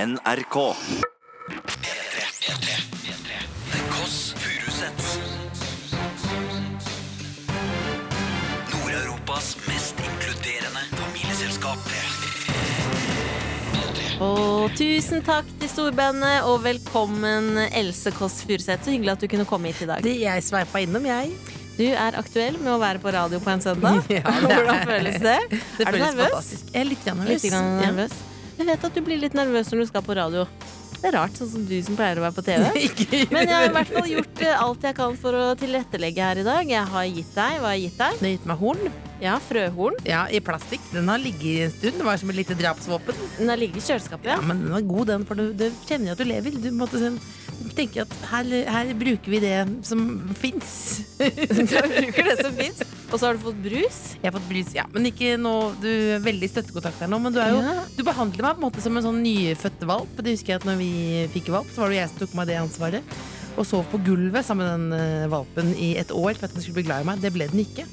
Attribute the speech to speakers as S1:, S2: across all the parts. S1: NRK.
S2: The Koss Furusets Nord-Europas mest inkluderende familieselskap
S3: Og tusen takk til storbandet, og velkommen Else Kåss Furuseth. Så hyggelig at du kunne komme hit i dag.
S4: Det jeg sveipa innom, jeg.
S3: Du er aktuell med å være på radio på en søndag.
S4: Ja, det er-
S3: Hvordan føles det? er du
S4: Det føles
S3: nervøs?
S4: fantastisk. Jeg er litt grann nervøs.
S3: Litt grann
S4: Ja.
S3: nervøs. Jeg vet at du blir litt nervøs når du skal på radio. Det er rart, sånn som du som pleier å være på TV.
S4: Ikke-
S3: Men jeg har i hvert fall gjort eh, alt jeg kan for å tilrettelegge her i dag. Jeg har gitt deg hva jeg har gitt deg.
S4: Det har gitt meg horn
S3: Ja, frøhorn.
S4: ja, i plastikk. Den har ligget en stund. Det var som et lite drapsvåpen.
S3: Den har ligget i kjøleskapet,
S4: Ja,
S3: ja.
S4: men den var god, den, for du, du kjenner jo at du lever. Du måtte sånn, tenke at her, her bruker vi det som fins.
S3: Du bruker det som fins. Og så har du fått brus.
S4: Jeg har fått brys, ja, men ikke nå Du er veldig støttekontakt her nå, men du er jo
S3: Ja.
S4: Du behandler meg på en måte som en sånn nyfødt valp. Det husker jeg at når vi fikk valp, så var det jo jeg som tok meg det ansvaret. Og sov på gulvet sammen med den eh, valpen i et år for at den skulle bli glad i meg. Det ble den ikke.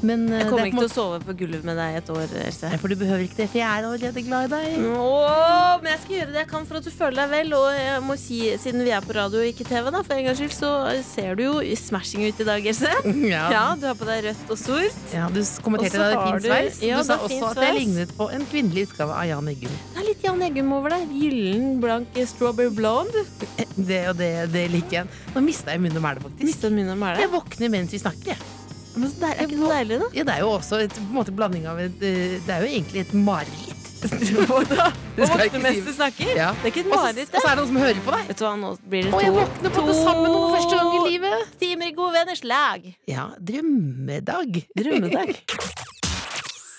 S4: Men eh,
S3: Jeg
S4: det
S3: kommer
S4: er på en
S3: ikke til å
S4: måte
S3: sove på gulvet med deg et år, Else.
S4: Nei, For du behøver ikke det, for jeg er allerede glad i deg.
S3: Åh, men jeg skal gjøre det jeg kan for at du føler deg vel. Og jeg må si, siden vi er på radio og ikke TV, da, for en gangs skyld, så ser du jo smashing ut i dag, Else.
S4: Ja,
S3: Mm. Ja, du har på deg rødt og sort.
S4: Ja, du s- kommenterte
S3: Og så
S4: at jeg hadde
S3: har
S4: fin
S3: du-
S4: sveis.
S3: ja,
S4: du sa
S3: det er fin
S4: også at jeg
S3: sveis.
S4: lignet på en kvinnelig utgave av Jan Eggum.
S3: Det er litt Jan Eggum over deg. Gyllen, blank eh, strawberry blonde.
S4: Eh, Det og det, det liker jeg. Nå mista jeg munn og mæle, faktisk.
S3: Mista munnen om hæla.
S4: Jeg våkner mens vi snakker, jeg.
S3: Men så der- Er ikke det deilig, da?
S4: Ja, det er jo også et, på en måte, blanding av et eh, Det er jo egentlig et mareritt. Det
S3: Og
S4: skal jeg
S3: våkne
S4: ikke
S3: mens du
S4: si.
S3: snakker.
S4: Ja.
S3: Det er ikke et
S4: Og så-
S3: mareritt,
S4: Og
S3: det.
S4: så er det noen som hører på deg.
S3: Vet du hva, nå blir det
S4: Og jeg
S3: to
S4: våkner på det samme nå for første gang i livet.
S3: timer i gode venners lag.
S4: Ja, drømmedag.
S3: Drømmedag.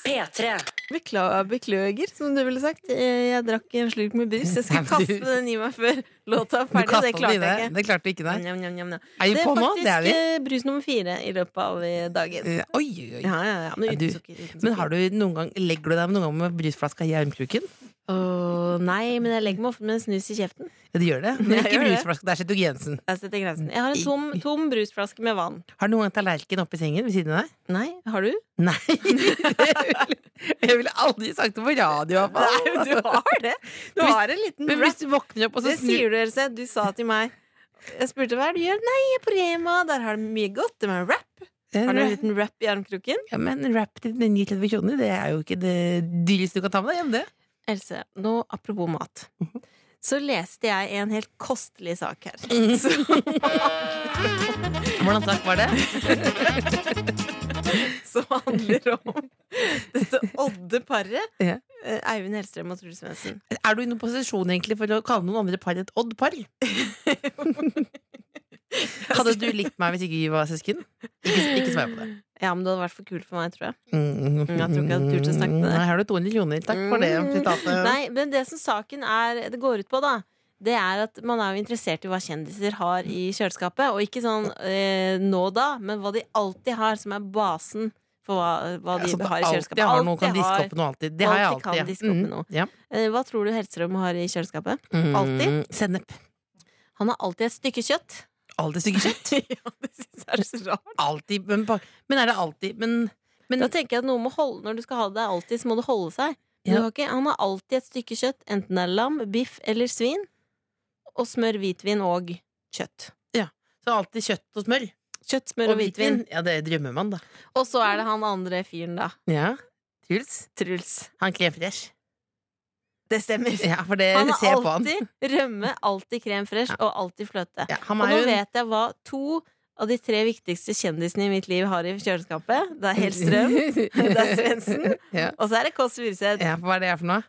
S5: P3.
S3: Bekla beklager, som du ville sagt. Eh, Jeg drakk en slurk med brus. Jeg skulle
S4: Nei, men du-
S3: kaste den i meg før låta er ferdig.
S4: Du
S3: Det
S4: kastet den i
S3: klarte jeg
S4: deg.
S3: ikke.
S4: Det klarte du ikke, nei.
S3: Njam, njam, njam, njam.
S4: Er vi
S3: Det
S4: på
S3: er
S4: nå? Det er
S3: faktisk
S4: vi.
S3: eh, brus nummer fire i løpet av eh, dagen.
S4: Eh, Oi, oi, oi.
S3: Ja, ja, ja. Men
S4: Ja, du-
S3: uten sukker. Uten
S4: Men
S3: sukker.
S4: har du noen gang, legger du deg noen gang med brusflaska i armkroken?
S3: Åh, nei, men jeg legger meg ofte med en snus i kjeften.
S4: Ja, det gjør det. Men
S3: Jeg
S4: ikke
S3: gjør det.
S4: brusflaska, det er Cetogensen.
S3: Jeg setter grensen. Jeg har en tom, tom brusflaske med vann.
S4: Har du noen gang tallerken oppi sengen ved siden av deg?
S3: Nei, har du?
S4: Nei. Jeg ville aldri sagt det på radio, i hvert fall.
S3: Nei, du har det! Du
S4: Hvis-
S3: har en liten
S4: Men hvis
S3: wrap.
S4: du våkner opp, og så
S3: Det
S4: snur
S3: sier du, Else. Du sa til meg Jeg spurte hva er det du gjør. Nei, jeg er på Rema. Der har de mye godt. De har wrap. Har du en liten wrap i armkroken?
S4: Ja, men rap til 39 kroner, det er jo ikke det dyreste du kan ta med deg hjem, det.
S3: Else, nå apropos mat. Så leste jeg en helt kostelig sak her.
S4: Hvordan takk var det?
S3: Som handler om dette odde paret.
S4: Ja.
S3: eh, Eivind Hellstrøm og Truls Svendsen.
S4: Er du i noen posisjon egentlig for å kalle noen andre par et odd-par? Hadde du likt meg hvis ikke vi var søsken? Ikke, ikke svar på det.
S3: Ja, men det hadde vært for kult for meg, tror jeg.
S4: Mm,
S3: Jeg tror ikke jeg hadde turt å snakke med deg.
S4: Nei, her har du 200 kroner. Takk for det
S3: Mm.
S4: sitatet.
S3: Nei, men det som saken er Det går ut på, da. Det er at Man er jo interessert i hva kjendiser har i kjøleskapet. Og ikke sånn eh, nå da, men hva de alltid har, som er basen for hva, hva de
S4: Altså, at
S3: har i
S4: alltid
S3: kjøleskapet.
S4: har noen kan
S3: Alltid
S4: diske
S3: har-
S4: opp noe alltid. Det har jeg
S3: Alltid kan
S4: alltid.
S3: diske opp
S4: Mm,
S3: noe.
S4: ja.
S3: Eh, Hva tror du Hellstrøm har i kjøleskapet?
S4: Mm,
S3: Alltid?
S4: Sennep.
S3: Han har alltid et stykke kjøtt.
S4: Alltid stykke kjøtt.
S3: ja, det synes jeg er så rart.
S4: Alltid. Men, bak- men er det alltid Men
S3: Da tenker jeg at noe må holde, Når du skal ha det alltid, så må det holde seg. Men
S4: Ja.
S3: Du har ikke, han har alltid et stykke kjøtt, enten det er lam, biff eller svin. Og smør, hvitvin og kjøtt.
S4: så alltid kjøtt og smør.
S3: Kjøtt, smør og, hvitvin.
S4: Ja, det drømmer man, da.
S3: Og så er det han andre fyren, da.
S4: Ja. Truls.
S3: Truls.
S4: Han kler fresh.
S3: Det stemmer.
S4: Ja, for det
S3: Han
S4: ser jeg
S3: har
S4: på han.
S3: alltid rømme, alltid krem fresh og alltid fløte.
S4: Ja, han
S3: Og
S4: er
S3: nå
S4: jo en-
S3: vet jeg hva to av de tre viktigste kjendisene i mitt liv har i kjøleskapet. Det er Hellstrøm, det er Svendsen,
S4: Ja.
S3: og så er det Kåss Furuseth.
S4: ja, hva er det jeg er for noe?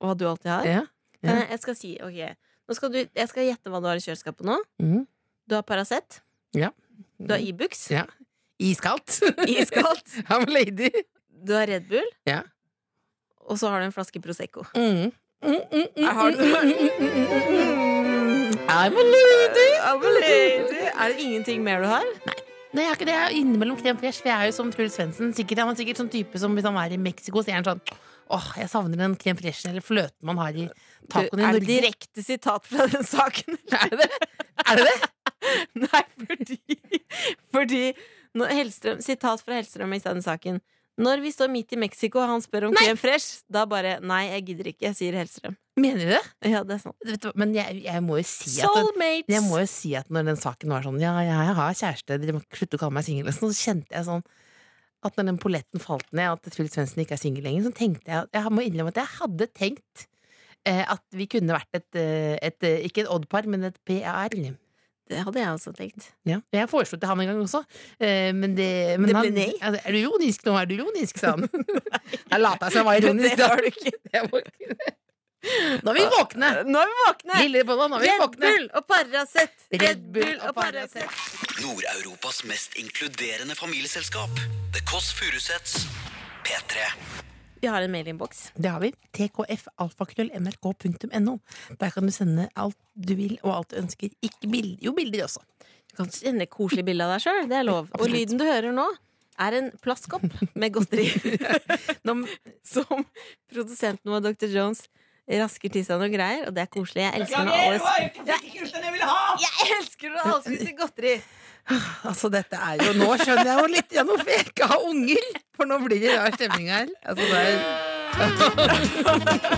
S3: Og Hva du alltid har.
S4: Ja. Ja.
S3: Eh, Jeg skal si, ok nå skal du, Jeg skal gjette hva du har i kjøleskapet nå.
S4: Mhm.
S3: Du har Paracet.
S4: Ja.
S3: Du har Ibux.
S4: Ja. Iskaldt.
S3: Iskaldt.
S4: I'm a lady.
S3: Du har Red Bull.
S4: Ja.
S3: Og så har du en flaske Prosecco.
S4: Mm. Mm, mm, mm,
S3: Har du-
S4: mm, mm, mm, mm, mm, mm. I'm a lady.
S3: Er det ingenting mer du har?
S4: Nei, jeg har ikke det. Jeg er innimellom krem fresh, for jeg er jo som Truls Svendsen. Sikkert, han er sikkert sånn type som hvis han er i Mexico, så er han sånn Åh, jeg savner den krem freshen eller fløten man har i tacoen i
S3: er det
S4: Norge.
S3: direkte sitat fra den saken?
S4: Er det det? Er det det?
S3: Nei, fordi Fordi når Hellstrøm, Sitat fra Hellstrøm i den saken. Når vi står midt i Mexico og han spør om krem fresh, da bare Nei, jeg gidder ikke, sier Hellstrøm.
S4: Mener du det?
S3: Ja, det er sant.
S4: Vet du hva, Men jeg, jeg må jo si at
S3: Soulmates!
S4: jeg må jo si at når den saken var sånn Ja, jeg har kjæreste, dere må slutte å kalle meg singel. Så kjente jeg sånn at når den polletten falt ned, at Truls Svendsen ikke er singel lenger, så tenkte jeg at jeg må innrømme at jeg hadde tenkt eh, at vi kunne vært et, eh, et eh, Ikke et oddpar, men et PAR.
S3: Det hadde jeg også tenkt.
S4: Ja. Jeg foreslo til han en gang også, eh, men det men
S3: Det ble
S4: han,
S3: nei.
S4: Altså, Er du ironisk nå? Er du ironisk? sa han. Jeg lata som jeg var ironisk.
S3: Det
S4: da.
S3: var du ikke.
S4: Jeg var ikke det. Nå er vi våkne!
S3: Nå er vi våkne!
S4: Lille Bolla, nå er vi
S3: Red
S4: våkne.
S3: Bull og Paracet!
S4: Red Bull og Paracet.
S2: Nord-Europas mest inkluderende familieselskap. The Kåss Furuseths. P3.
S3: Vi har en mailinnboks.
S4: Det har vi. tkfalfakrøllnrk.no. Der kan du sende alt du vil og alt du ønsker. Ikke bilder, jo, bilder også.
S3: Du kan sende koselig Sånn bilde av deg sjøl. Det er lov. Og
S4: Absolutt.
S3: lyden du hører nå, er en plastkopp med godteri
S4: Nå,
S3: som produsenten vår, Dr. Jones, rasker til seg noe greier, og det er koselig. Jeg elsker når alle Jeg elsker når alle spiser godteri!
S4: altså, dette er jo Nå skjønner jeg jo litt gjennom for jeg ikke har unger! For nå blir det rar stemning her. Altså, det er...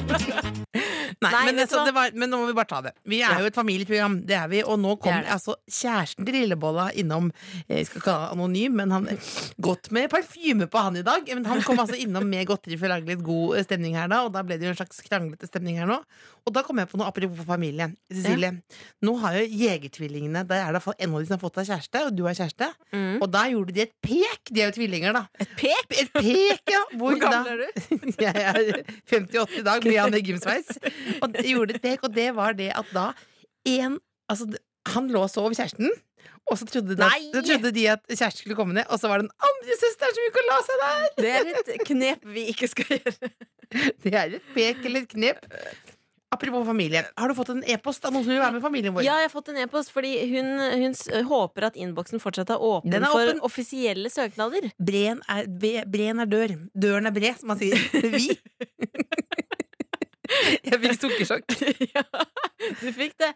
S4: Nei,
S3: Nei,
S4: men,
S3: vet du
S4: altså,
S3: hva?
S4: det var, men nå må vi bare ta det. Vi er jo et familieprogram, det er vi. Og nå kom
S3: Det er det.
S4: altså kjæresten til Lillebolla innom eh, Jeg skal ikke kalle han anonym, men han eh, godt med parfyme på han i dag. Men han kom altså innom med godteri for å lage litt god eh, stemning her da, og da ble det jo en slags kranglete stemning her nå. Og da kom jeg på noe apropos familie. Cecilie, nå har jo Jegertvillingene Der er det i hvert fall en av de som har fått deg kjæreste, og du har kjæreste.
S3: Mm.
S4: Og da gjorde de et pek! De er jo tvillinger, da.
S3: Et pek!
S4: Et pek, ja! Hvor,
S3: Hvor gammel
S4: da-
S3: er du?
S4: jeg er 58 i dag, blir han i gymsveis. Og det gjorde et pek, og det var det at da en, altså, d- Han lå og sov kjæresten, og så trodde, de at,
S3: Nei!
S4: så trodde de at kjæresten skulle komme ned, og så var det den andre søsteren som gikk og la seg der!
S3: Det er et knep vi ikke skal gjøre.
S4: Det er et pek eller et knep. Apropos familie, har du fått en e-post av noen som vil være med familien vår?
S3: Ja, jeg har fått en e-post, fordi hun, hun s- håper at innboksen fortsatt er åpen
S4: Den er
S3: for
S4: åpen.
S3: offisielle søknader.
S4: Breen, er, be- breen er dør. Døren er bred, som man sier. Vi. Jeg fikk sukkersjokk.
S3: ja, du fikk det.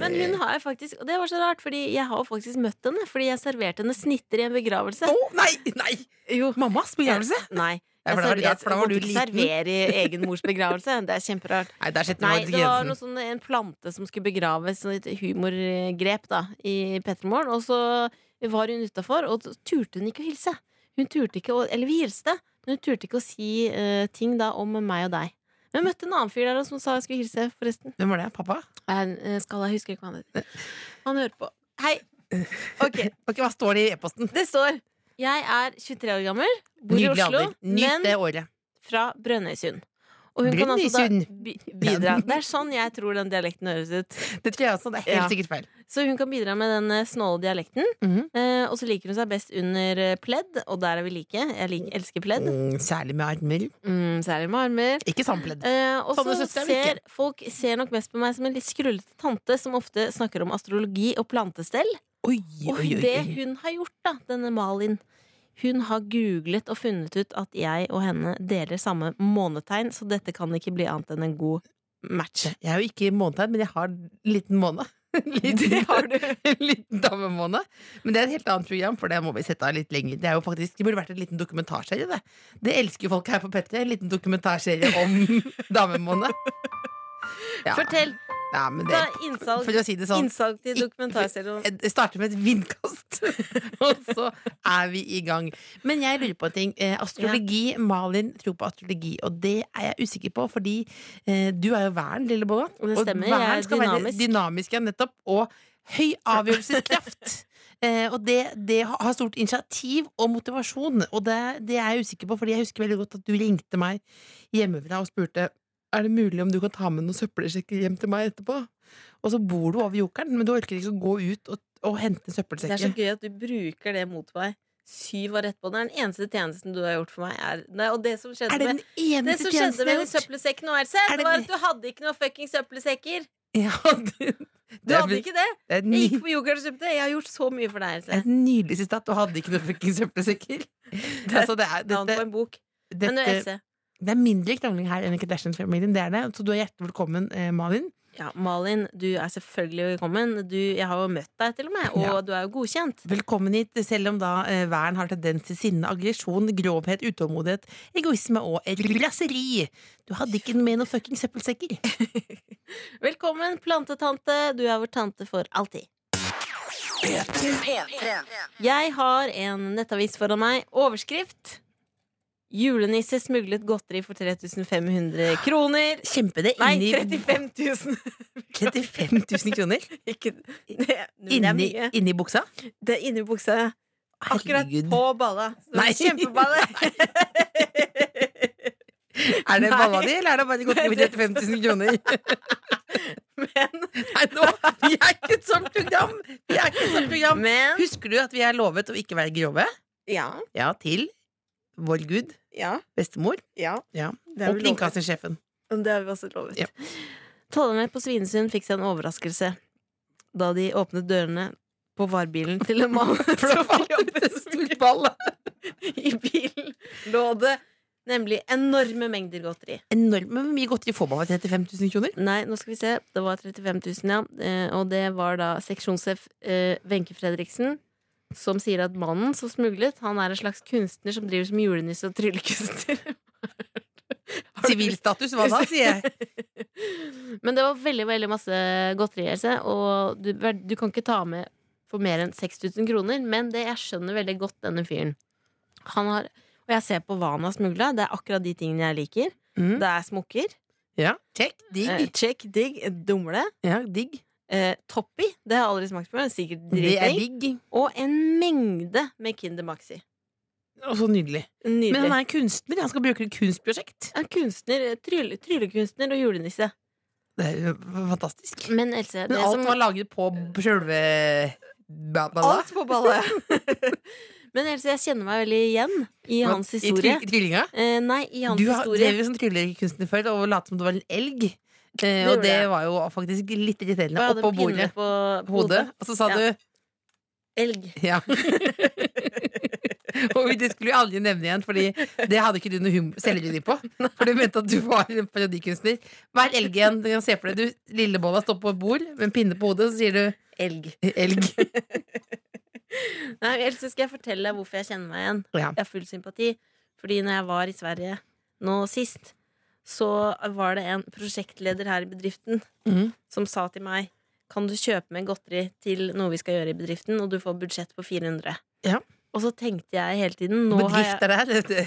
S3: Men hun har jeg faktisk, og det var så rart, fordi jeg har jo faktisk møtt henne. Fordi jeg serverte henne snitter i en begravelse.
S4: Å, nei! Nei!
S3: Jo.
S4: Mammas begravelse?
S3: Nei. Jeg,
S4: Ja, for da var det
S3: server-
S4: rart, for da var
S3: jeg,
S4: du
S3: jeg,
S4: liten.
S3: serverer i egen mors begravelse. Det er kjemperart.
S4: Nei, der setter
S3: Nei,
S4: man
S3: det var
S4: grensen.
S3: noe sånn, en plante som skulle begraves, sånn et humorgrep da, i Petremorgen. Og så var hun utafor, og så turte hun ikke å hilse. Hun turte ikke å, Eller vi hilste, men hun turte ikke å si eh, ting da om meg og deg. Men jeg møtte en annen fyr der også som sa jeg skulle hilse, forresten.
S4: Hvem var det? Pappa?
S3: Jeg, eh, skal, jeg husker ikke hva han heter. Han hører på. Hei! Ok,
S4: Ok, Hva står det i e-posten?
S3: det står Jeg er 23 år gammel, bor i
S4: Nydelig
S3: Oslo,
S4: alder. Nyt
S3: men
S4: det året.
S3: fra Brønnøysund. Og hun kan altså da
S4: Brønnøysund.
S3: bi- bidra. Det er sånn jeg tror den dialekten høres ut.
S4: Det tror jeg også. Det er helt
S3: Ja.
S4: sikkert feil.
S3: Så hun kan bidra med den eh, snåle dialekten.
S4: Mhm.
S3: Eh, og så liker hun seg best under eh, pledd, og der er vi like. Jeg lik- elsker pledd.
S4: Mm, særlig med armer.
S3: Mm, særlig med armer.
S4: Ikke sampledd.
S3: Eh, og
S4: Sånne
S3: så
S4: søstre er vi
S3: ser folk ser nok mest på meg som en litt skrullete tante som ofte snakker om astrologi og plantestell.
S4: Oi,
S3: Og
S4: oi, oi.
S3: det hun har gjort, da, denne Malin Hun har googlet og funnet ut at jeg og henne deler samme månetegn, så dette kan ikke bli annet enn en god match.
S4: Jeg er jo ikke i månetegn, men jeg har en liten måned. Liten- En liten damemåned. Men det er et helt annet program, for det må vi sette av litt lenger. Det, er jo faktisk, det burde vært en liten dokumentarserie, det. Det elsker jo folk her på P3. En liten dokumentarserie om damemåned. Ja.
S3: Fortell!
S4: Ja, men det,
S3: Da innsalg,
S4: for å si det sånn,
S3: innsalg til dokumentarserien.
S4: Jeg- Det starter med et vindkast, og så er vi i gang. Men jeg lurer på en ting. Eh, Astrologi, Malin tror på astrologi, og det er jeg usikker på, fordi eh, du er jo væren, lille Bolla.
S3: Og det stemmer,
S4: væren
S3: jeg er
S4: skal være
S3: dynamisk.
S4: dynamisk ja, nettopp, og høy avgjørelseskraft. Eh, og det, det ha- har stort initiativ og motivasjon, og det, det er jeg usikker på, fordi jeg husker veldig godt at du ringte meg hjemmefra og spurte er det mulig om du kan ta med noen søppelsekker hjem til meg etterpå. Og så bor du over jokeren, men du orker ikke å gå ut og, og hente
S3: Det er så
S4: søppelsekker.
S3: gøy at du bruker det mot meg syv år etterpå. Det er den eneste tjenesten du har gjort for meg. Er, nei, og det som skjedde
S4: Er det
S3: med
S4: den
S3: det som
S4: eneste
S3: skjedde
S4: tjenesten jeg
S3: med de
S4: har gjort?
S3: søppelsekkene og RC,
S4: Er det
S3: det var
S4: den-
S3: at du hadde ikke noe fucking søppelsekker!
S4: Ja, det,
S3: Du hadde ikke det!
S4: det er
S3: Jeg
S4: ny-
S3: gikk på jokeren og kjøpte. Jeg har gjort så mye for deg,
S4: det er
S3: RC.
S4: et nydelig sitat. Du hadde ikke noe fuckings søppelsekker. Altså, det, er,
S3: Navn på
S4: dette,
S3: en bok. Men du,
S4: dette,
S3: RC.
S4: det er mindre krangling her enn i Kardashians-familien. Det er det. Så du er hjertelig velkommen, eh, Malin.
S3: Ja, Malin, du er selvfølgelig velkommen. Du, jeg har jo møtt deg, til og med, og
S4: Ja.
S3: du er jo godkjent.
S4: Velkommen hit, selv om da eh, vern har tendens til sinne, aggresjon, grovhet, utålmodighet, egoisme og raseri. Du hadde ikke med noen fucking søppelsekker.
S3: Velkommen, plantetante. Du er vår tante for alltid.
S5: P3.
S3: Jeg har en nettavis foran meg. Overskrift. Julenisse smuglet godteri for 3500 kroner.
S4: Kjempe det
S3: Nei,
S4: inn i
S3: 35 000!
S4: 35 000 kroner
S3: Ikke det, det er
S4: inni,
S3: mye.
S4: inni buksa.
S3: Det er inni buksa. Akkurat
S4: Herregud.
S3: på balla. Så
S4: Nei.
S3: Kjempeballe!
S4: Er det
S3: Nei.
S4: balla di, eller er det bare godteri med 35 000 kroner?
S3: Men,
S4: Nei, nå, vi er ikke et sånt program! Vi er ikke et sånt program.
S3: men
S4: Husker du at vi er lovet å ikke være grove?
S3: Ja.
S4: Ja, til vår gud,
S3: Ja.
S4: bestemor
S3: ja.
S4: Ja.
S3: Det er
S4: og
S3: vel lov.
S4: kringkastingssjefen.
S3: Men Det har vi også lovet.
S4: Ja.
S3: Tollerne på Svinesund fikk seg en overraskelse da de åpnet dørene på varebilen til en mann
S4: For da
S3: som
S4: falt
S3: jobbet
S4: ut en stor ball.
S3: i bilen. Lå det nemlig enorme mengder godteri.
S4: Enormt men hvor mye godteri får man av 35 000 kroner?
S3: Nei, nå skal vi se. Det var 35 000, ja. Eh, Og det var da seksjonssjef eh, Wenche Fredriksen. Som sier at mannen som smuglet, han er en slags kunstner som driver som julenisse og tryllekunstner. Har du-
S4: Sivilstatus, hva da, sier jeg.
S3: Men det var veldig veldig masse godteri, Else, og du, du kan ikke ta med for mer enn 6000 kroner. Men det jeg skjønner veldig godt denne fyren. Han har, og jeg ser på hva han har smugla. Det er akkurat de tingene jeg liker.
S4: Mm.
S3: Det er smokker.
S4: Ja, check,
S3: Eh,
S4: digg.
S3: check, digg, dumle.
S4: Ja, digg.
S3: Eh, Toppi. Det har jeg aldri smakt på, men sikkert
S4: Det er
S3: dritdigg.
S4: digg.
S3: Og en mengde med Kinder Maxi.
S4: Og så nydelig.
S3: Nydelig.
S4: Men han er en kunstner, han skal bruke det i kunstprosjekt.
S3: en kunstner, eh, trylle, tryllekunstner og julenisse.
S4: Det er jo fantastisk.
S3: Men Else,
S4: Men
S3: det
S4: alt
S3: som
S4: var laget på sjølve Balla.
S3: Alt på ballet. Men Else, jeg kjenner meg veldig igjen i hans historie.
S4: I tryll- tvillinga.
S3: Eh, nei, i hans
S4: Du har
S3: historie.
S4: drevet som tryllekunstner før og lot som du var en elg. Eh,
S3: Det
S4: og
S3: gjorde
S4: det
S3: jeg.
S4: var jo faktisk litt irriterende.
S3: Og jeg hadde
S4: Oppå
S3: pinne
S4: bordet.
S3: På
S4: På hodet. Og så sa
S3: Ja.
S4: du
S3: Elg.
S4: Ja. og det skulle vi aldri nevne igjen, Fordi det hadde ikke du noe hum- selvironi på. For du mente at du var en parodikunstner. Hver elg igjen. Du kan se for deg du lillebolla står på et bord med en pinne på hodet, så sier du
S3: Elg.
S4: elg.
S3: Nei, Else, skal jeg fortelle deg hvorfor jeg kjenner meg igjen.
S4: Ja.
S3: Jeg har full sympati. Fordi når jeg var i Sverige nå sist, så var det en prosjektleder her i bedriften
S4: Mhm.
S3: som sa til meg kan du kjøpe med godteri til noe vi skal gjøre i bedriften, og du får budsjett på 400.
S4: Ja.
S3: Og så tenkte jeg hele tiden nå har jeg,
S4: Bedrift er det her.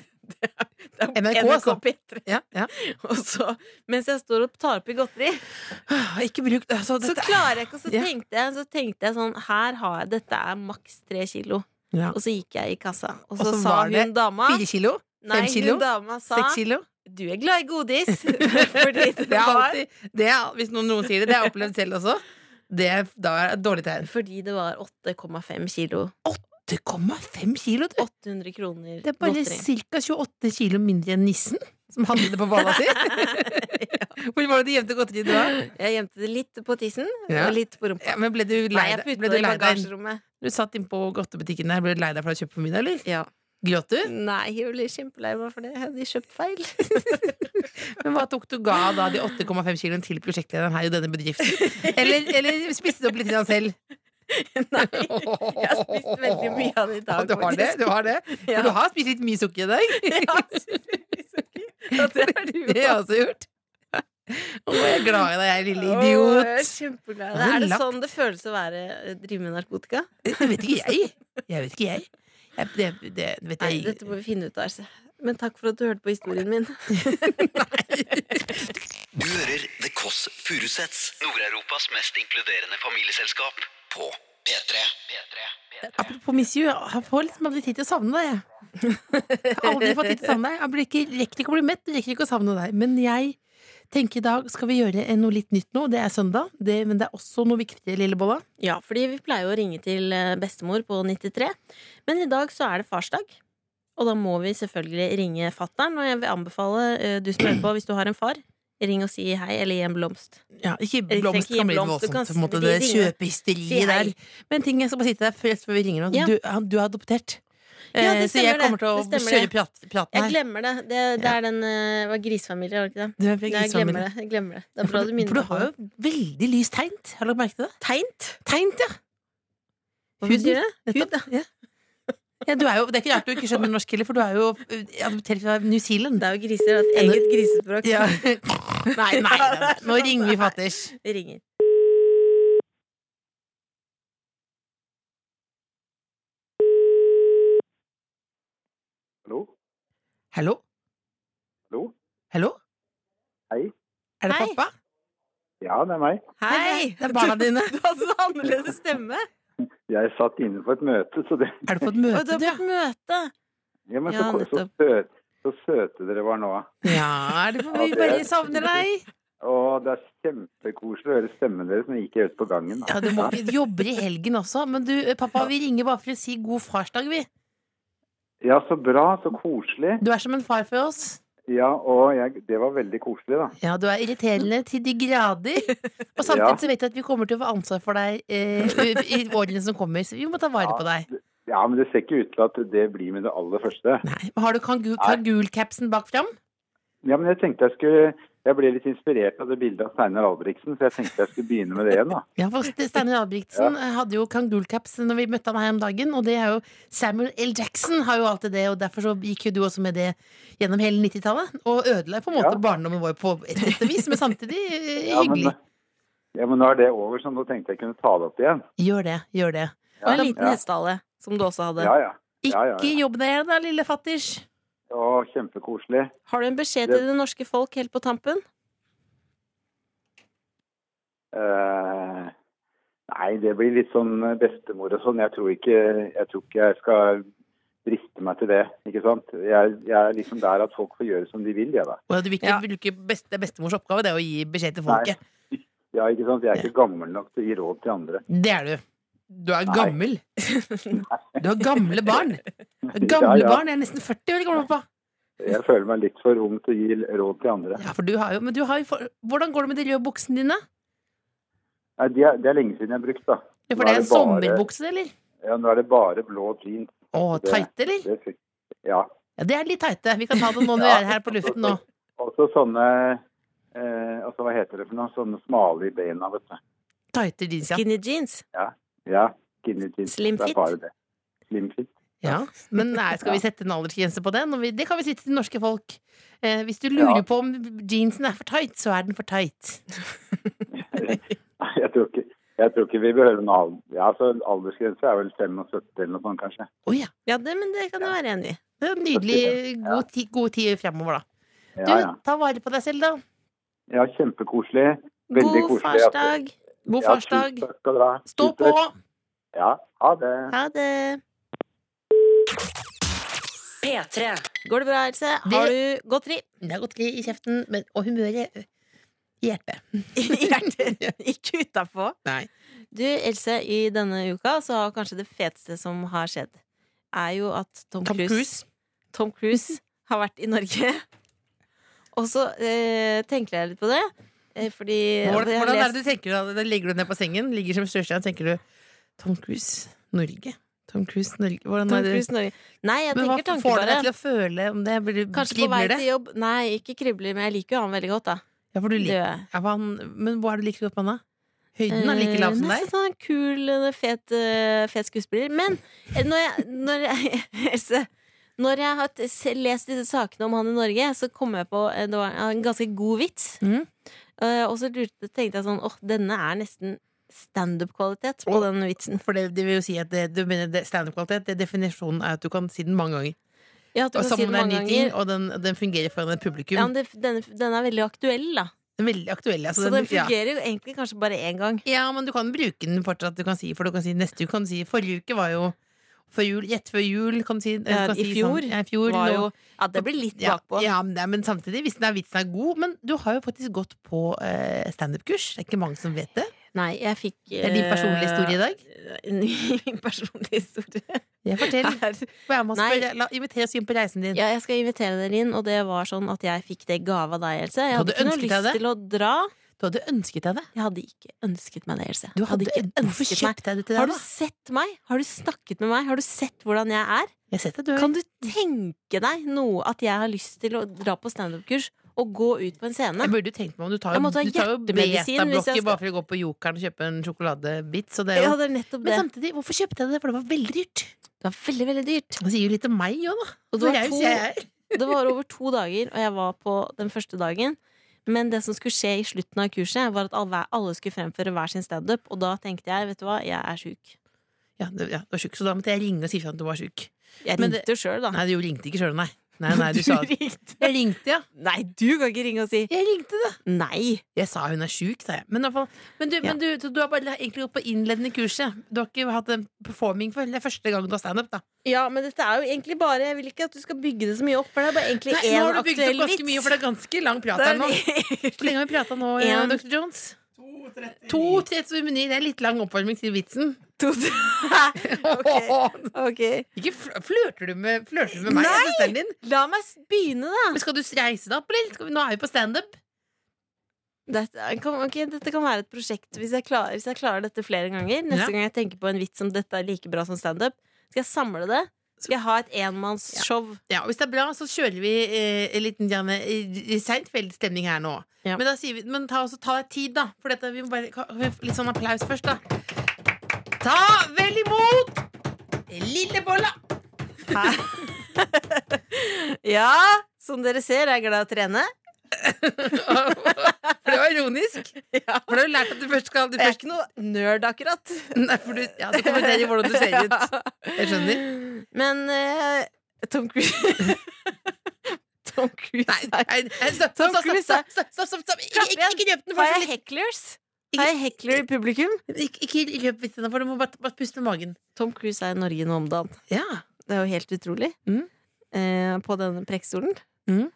S4: Det er utrolig. NRK, altså.
S3: P3.
S4: Ja, ja.
S3: Og så, mens jeg står og tar oppi godteri,
S4: Ikke bruk altså,
S3: så
S4: dette.
S3: klarer jeg ikke. Og så
S4: Ja.
S3: tenkte jeg, så tenkte jeg sånn Her har jeg Dette er maks tre kilo.
S4: Ja.
S3: Og så gikk jeg i kassa, og
S4: Og
S3: så
S4: så
S3: sa
S4: var det
S3: hun dama
S4: Fire kilo?
S3: Nei,
S4: kilo?
S3: hun dama sa
S4: Seks kilo?
S3: Du er glad i godis. Fordi det,
S4: Det er
S3: var,
S4: alltid, det er, hvis noen, noen sier det, det har jeg opplevd selv også. Det er, da er det et dårlig tegn.
S3: fordi det var 8,5 kilo.
S4: 8,5 kilo, du!
S3: 800 kroner
S4: Det er bare
S3: godteri.
S4: ca. 28 kilo mindre enn nissen som hadde det på balla si. Hvor var det du gjemte godteriet da?
S3: Jeg gjemte det litt på tissen
S4: Ja.
S3: og litt på rumpa.
S4: Ja, men ble du
S3: Nei,
S4: lei
S3: jeg
S4: deg?
S3: putta
S4: Ble
S3: det
S4: du
S3: i
S4: lei deg?
S3: bagasjerommet.
S4: Du satt innpå godtebutikken der, ble du lei deg for å ha kjøpt for middag, eller?
S3: Ja.
S4: Gråt du?
S3: Nei, jeg ble kjempelei meg for det. Jeg hadde kjøpt feil.
S4: Men hva tok du ga da de 8,5 kiloene til prosjektlederen her i denne bedriften? Eller, eller spiste du opp litt grann selv?
S3: Nei, jeg har spist veldig mye av det i
S4: Ja,
S3: dag.
S4: du har det?
S3: faktisk.
S4: Du har det? For
S3: Ja.
S4: du har spist litt mye sukker i dag?
S3: Ja, Og det har du
S4: Det har jeg også gjort. Å, jeg er glad i deg, jeg lille
S3: Åh,
S4: idiot.
S3: jeg er kjempeglad.
S4: Har du
S3: Er det
S4: lagt-
S3: sånn det føles å være drive med narkotika?
S4: Det vet ikke jeg. Jeg vet ikke jeg. jeg det, det vet
S3: Nei,
S4: jeg
S3: dette må vi finne ut av. Else. Men takk for at du hørte på historien min.
S2: Du hører The Kåss Furuseths, Nord-Europas mest inkluderende familieselskap, på P3. P3.
S4: Apropos Miss You, jeg får liksom aldri tid til å savne deg. Jeg Jeg har aldri fått tid til å savne deg. Jeg blir ikke, rekker ikke å bli mett, jeg rekker ikke å savne deg. Men jeg tenker i dag skal vi gjøre noe litt nytt nå. Det er søndag, det, men det er også noe viktig, lillebolla.
S3: Ja, fordi vi pleier jo å ringe til eh, bestemor på 93, men i dag så er det farsdag. Og da må vi selvfølgelig ringe fatter'n, og jeg vil anbefale eh, du som hører på, hvis du har en far, ring og si hei, eller gi en blomst.
S4: Ja, ikke
S3: Jeg
S4: blomst
S3: tenker
S4: kan bli litt
S3: blomst, du kan
S4: voldsomt. på en måte,
S3: si-
S4: Det
S3: ringe.
S4: kjøpehysteriet
S3: Si hei.
S4: der. Men en ting jeg skal bare si til deg først før vi ringer nå.
S3: Ja.
S4: Du, han- du er adoptert.
S3: Ja,
S4: Eh,
S3: det
S4: så jeg
S3: stemmer
S4: kommer
S3: det.
S4: til å
S3: Det stemmer
S4: kjøre
S3: det.
S4: prat- praten
S3: Jeg
S4: her.
S3: glemmer det. Det, det er den eh, var grisefamilie, var det ikke det?
S4: Du, jeg fikk
S3: Nei, jeg
S4: grisefamilie.
S3: glemmer det. Jeg glemmer det. Det er
S4: For
S3: bra du
S4: du,
S3: minner
S4: for du
S3: meg på
S4: har jo
S3: det.
S4: veldig lys tegnt. Har du lagt merke til det?
S3: Teint?
S4: Tegnt, ja.
S3: Hva
S4: Huden.
S3: betyr det?
S4: Nettopp. Ja. Ja, du er jo, det er ikke rart du ikke skjønner norsk heller, for du er jo eh, adoptert fra New Zealand.
S3: Det er jo griser. Det er et eget grisespråk.
S4: Ja. Nei, nei, nei. Nå ringer vi fatters.
S3: Vi ringer.
S1: Hallo?
S4: Hallo?
S1: Hallo?
S4: Hallo?
S1: Hei.
S4: Er det
S3: Hei.
S4: pappa?
S1: Ja, det er meg.
S3: Hei!
S4: Det er barna dine.
S3: Du hadde en annerledes stemme.
S1: Jeg satt inne på et møte, så det
S4: Er du på et
S3: Og du
S4: møte,
S3: har
S4: du?
S3: fått møte.
S1: ja, men
S3: Ja,
S1: så, så,
S3: nettopp.
S1: søt, så søte dere var nå.
S4: Ja, er det for mye?
S1: Ja, det er-
S4: Bare savner deg.
S1: Og det er kjempekoselig å høre stemmen deres når jeg gikk ut på gangen.
S4: Ja, du må, vi jobber i helgen også, men du, eh, pappa, vi ringer bare for å si god farsdag, vi.
S1: Ja, så bra, så koselig.
S4: Du er som en far for oss.
S1: Ja, og jeg, det var veldig koselig, da.
S4: Ja, du er irriterende til de grader. Og samtidig
S1: Ja.
S4: så vet jeg at vi kommer til å få ansvar for deg eh, i årene som kommer, så vi må ta vare
S1: Ja.
S4: på deg.
S1: Ja, men det ser ikke ut til at det blir med det aller første.
S4: Nei, men Har du kangu- kangul-capsen bak fram?
S1: Ja, men jeg tenkte jeg skulle Jeg ble litt inspirert av det bildet av Steinar Albrigtsen, så jeg tenkte jeg skulle begynne med det igjen, da.
S4: Ja, for Ste- Steinar Albrigtsen eh, hadde jo kangul-caps når vi møtte han her om dagen, og det er jo Samuel L. Jackson har jo alltid det, og derfor så gikk jo du også med det gjennom hele 90-tallet, og ødela på en måte
S1: Ja.
S4: barndommen vår på et sett og vis, men samtidig eh,
S1: Ja, men,
S4: hyggelig.
S1: ja, men nå er det over, så nå tenkte jeg kunne ta det opp igjen.
S4: Gjør det, gjør det.
S3: Og en
S1: Ja.
S3: liten
S1: Ja.
S3: hestehale, som du også hadde.
S1: Ja, ja.
S4: Ikke
S1: Ja, ja, ja.
S4: jobb deg igjen da, lille fatters.
S1: Å, kjempekoselig.
S3: Har du en beskjed til det norske folk helt på tampen?
S1: Eh, nei, det blir litt sånn bestemor og sånn. Jeg tror ikke jeg, tror ikke jeg skal driste meg til det. ikke sant? Jeg, jeg er liksom der at folk får gjøre som de vil, jeg da.
S4: Og du vil ikke,
S3: Ja.
S4: vil du ikke best, det er bestemors oppgave det er å gi beskjed til
S1: Nei.
S4: folket.
S1: Ja, ikke sant? Jeg er ikke gammel nok til å gi råd til andre.
S4: Det er du. Du er
S1: Nei.
S4: gammel. Du har gamle barn.
S1: Ja,
S4: Gamle
S1: ja.
S4: barn. Jeg er nesten 40 år gammel, pappa.
S1: Jeg føler meg litt for ung til å gi råd til andre.
S4: Ja, for du har jo, men du har jo for, hvordan går det med de røde buksene dine?
S1: Nei, det er, det er lenge siden jeg har brukt, da.
S4: Ja,
S1: Nå
S4: for det er
S1: er det bare-
S4: sommerbukse, eller?
S1: Ja, nå er det bare blå jeans.
S4: Å,
S1: Det-
S4: tighte, eller?
S1: Det er fint. Ja.
S4: Ja, det er litt tighte. Vi kan ta det nå når vi
S1: Ja.
S4: er her på luften nå.
S1: Også sånne eh, altså, Hva heter det for noe? Sånne smale i beina, vet du.
S4: Tighte jeans, ja.
S3: Skinny jeans.
S1: Ja. Skinny jeans.
S3: Slim
S1: Det
S3: fit.
S1: er bare det. Slim fit.
S4: ja. Men nei, skal vi sette en aldersgrense på det? Når vi, det kan vi si til norske folk. Eh, hvis du lurer
S1: Ja.
S4: på om jeansen er for tight, så er den for tight.
S1: Nei, jeg tror ikke, jeg tror ikke vi behøver en alder. Ja, altså, aldersgrense er vel 75 eller noe sånt, kanskje.
S4: Å ja.
S3: Ja, det, men det kan jeg være enig i.
S4: Det er en nydelig god ti- god tid fremover, da. Du,
S1: Ja, ja.
S4: ta vare på deg selv, da.
S1: ja kjempekoselig. Veldig
S3: God
S1: koselig at-
S3: farsdag.
S4: God
S1: Ja,
S4: farsdag.
S1: tusen takk skal dere ha.
S4: Stå
S1: Tusen
S4: på!
S1: takk. Ja, ha det.
S3: Ha det.
S5: P3.
S3: Går det bra, Else? Har du godteri?
S4: Det har gått i kjeften, men, og humøret ø, i hjertet.
S3: Ikke utapå.
S4: Nei.
S3: Du, Else, i denne uka så har kanskje det feteste som har skjedd, er jo at Tom,
S4: Tom
S3: Cruise,
S4: Cruise.
S3: Tom Cruise har vært i Norge. Og så eh, tenkte jeg litt på det, eh, fordi
S4: Hvordan,
S3: jeg har
S4: hvordan er
S3: lest-
S4: det du tenker da? Da Ligger du ned på sengen, ligger som Størstein, tenker du Tom Cruise, Norge. Tom Cruise, Norge. Hvordan
S3: Tom
S4: er det?
S3: Cruise Norge? Nei, jeg
S4: Men hva
S3: tenker tanker
S4: får
S3: bare.
S4: deg til å føle om det? Blir du
S3: Kanskje på vei
S4: Kribler det?
S3: til jobb. Nei, ikke kribler, men jeg liker jo han veldig godt, da.
S4: Ja, for du
S3: Det
S4: liker
S3: gjør jeg.
S4: ja, for han, Men hva er det du liker godt med han, da? Høyden er like
S3: Eh,
S4: lav som
S3: nesten
S4: deg?
S3: Sånn en kul, eh, fet, eh, fet skuespiller. Men eh, når jeg, når jeg Else, når jeg har t- se- lest disse sakene om han i Norge, så kom jeg på eh, det var en ganske god vits.
S4: Mhm.
S3: Eh, og så lurte, tenkte jeg sånn åh, denne er nesten standup-kvalitet på
S4: Åh.
S3: den vitsen.
S4: For det, det vil jo si at det, du mener det- standup-kvalitet, det definisjonen er at du kan si den mange ganger.
S3: Ja, at du
S4: Og
S3: kan si
S4: sammen
S3: det
S4: med en
S3: mange
S4: ny ting,
S3: ganger.
S4: og den, den fungerer foran et publikum.
S3: Ja, men det, denne, denne er veldig aktuell, da.
S4: Den er Veldig aktuell. Altså,
S3: Så den
S4: ja.
S3: fungerer jo egentlig kanskje bare én gang.
S4: Ja, men du kan bruke den fortsatt. Du kan si, for du kan si neste uke kan du si Forrige uke var jo før jul, rett før jul, kan du si. du
S3: Ja,
S4: kan
S3: i
S4: si
S3: fjor
S4: sånn, ja, i fjor
S3: Var
S4: nå-
S3: jo, ja, det blir litt
S4: ja,
S3: bakpå.
S4: Ja, men, det er- men samtidig, hvis den er, vitsen er god Men du har jo faktisk gått på eh, standup-kurs. Det er ikke mange som vet det.
S3: Nei, jeg fikk
S4: Det er din personlige historie i dag.
S3: Min personlige historie
S4: Jeg forteller.
S3: er
S4: Vær med oss
S3: Nei.
S4: på- la, inviter oss inn på reisen din.
S3: Ja, jeg skal invitere dere inn, og det var sånn at jeg fikk det i gave av deg, Else. Jeg
S4: Hadde
S3: hadde ikke noe
S4: du ønsket deg
S3: lyst
S4: det?
S3: til å dra.
S4: Du hadde ønsket deg det.
S3: Jeg hadde ikke ønsket meg det, Else.
S4: Du
S3: Jeg
S4: hadde ikke Hvorfor
S3: ønsket meg
S4: kjøpte jeg det til
S3: Har du
S4: deg, da?
S3: sett meg? Har du snakket med meg? Har du sett hvordan jeg er?
S4: Jeg setter død.
S3: Kan du tenke deg noe at jeg har lyst til å dra på standup-kurs og gå ut på en scene?
S4: Jeg burde jo tenkt meg om du tar
S3: Jeg
S4: jo,
S3: måtte ha
S4: du tar jo
S3: hjertemedisin hvis jeg
S4: betablokker
S3: skal-
S4: bare for å gå på Jokeren og kjøpe en sjokoladebit. Så det er
S3: Ja,
S4: jo...
S3: det er nettopp
S4: Men
S3: det.
S4: samtidig, hvorfor kjøpte jeg det? For det var veldig dyrt.
S3: Det var veldig, veldig dyrt.
S4: Det sier jo litt om meg òg, da.
S3: Og det
S4: Hvor
S3: var,
S4: raus jeg
S3: to,
S4: er.
S3: det var over to dager, og jeg var på den første dagen. Men det som skulle skje i slutten av kurset, var at alle- alle skulle fremføre hver sin standup. Og da tenkte jeg, vet du hva, jeg er sjuk.
S4: Ja, du, ja, du var sjuk, så da måtte jeg ringe og si fra at du var sjuk.
S3: Jeg
S4: Men det-
S3: ringte jo sjøl, da.
S4: Nei, du ringte ikke sjøl, nei. Nei, nei, du sa Jeg
S3: ringte.
S4: ringte, ja.
S3: Nei, du kan ikke ringe og si
S4: Jeg ringte, det.
S3: nei.
S4: Jeg sa hun er sjuk, sa jeg. Men, i hvert fall, men, du,
S3: Ja.
S4: men du, så du har bare egentlig gått på innledende kurset. Du har ikke hatt en performing for det er første gang du har standup, da.
S3: Ja, men dette er jo egentlig bare Jeg vil ikke at du skal bygge det så mye opp, for det er bare egentlig
S4: Nei, nå
S3: én
S4: har du bygd opp
S3: aktuell
S4: ganske mye, for det er ganske lang prat her nå.
S3: vits.
S4: Hvor lenge har vi prata nå, eh,
S3: En.
S4: Dr. Jones? 2.39. Det er litt lang oppvarming til vitsen.
S3: Ok. ok.
S4: Ikke fl- flørter du med, flørter du med meg og søsteren din?
S3: La meg s- begynne, da.
S4: Men skal du reise deg opp, eller? Skal vi, nå er vi på standup.
S3: Dette, er- kan, ok, dette kan være et prosjekt hvis jeg, klarer, hvis jeg klarer dette flere ganger. Neste
S4: Ja.
S3: gang jeg tenker på en vits som dette er like bra som standup, skal jeg samle det. Skal jeg ha et enmannsshow.
S4: Ja, og hvis det er bra, så kjører vi eh, en liten grann, eh, Seinfeld-stemning her nå.
S3: Ja.
S4: Men, da sier vi, men ta, også, ta deg tid, da. For dette, vi må bare ka- Litt sånn applaus først, da. Ta vel imot Lillebolla!
S3: Ja, som dere ser, jeg er glad i å trene.
S4: For det var ironisk.
S3: Ja.
S4: For du har jo lært at du først skal du
S3: Jeg er
S4: først,
S3: ikke noe nerd, akkurat.
S4: Nei, for du, ja, du kommenterer hvordan du ser ut.
S3: Ja.
S4: Jeg skjønner.
S3: Men eh, Tom Cruise Tom Cruise
S4: Nei, nei, nei, stopp,
S3: Tom
S4: stopp, stopp,
S3: Cruise
S4: stopp, stopp, stopp, stopp, stopp. Ikke,
S3: Slapp
S4: ikke,
S3: igjen.
S4: ikke røp den
S3: Har
S4: for
S3: jeg hecklers? Har jeg heckler i publikum?
S4: Ikke, ikke røp vitsene for du må bare, bare puste med magen.
S3: Tom Cruise er i Norge nå om dagen.
S4: Ja.
S3: Det er jo helt utrolig.
S4: Mm.
S3: Eh, på denne prekestolen.
S4: Mm.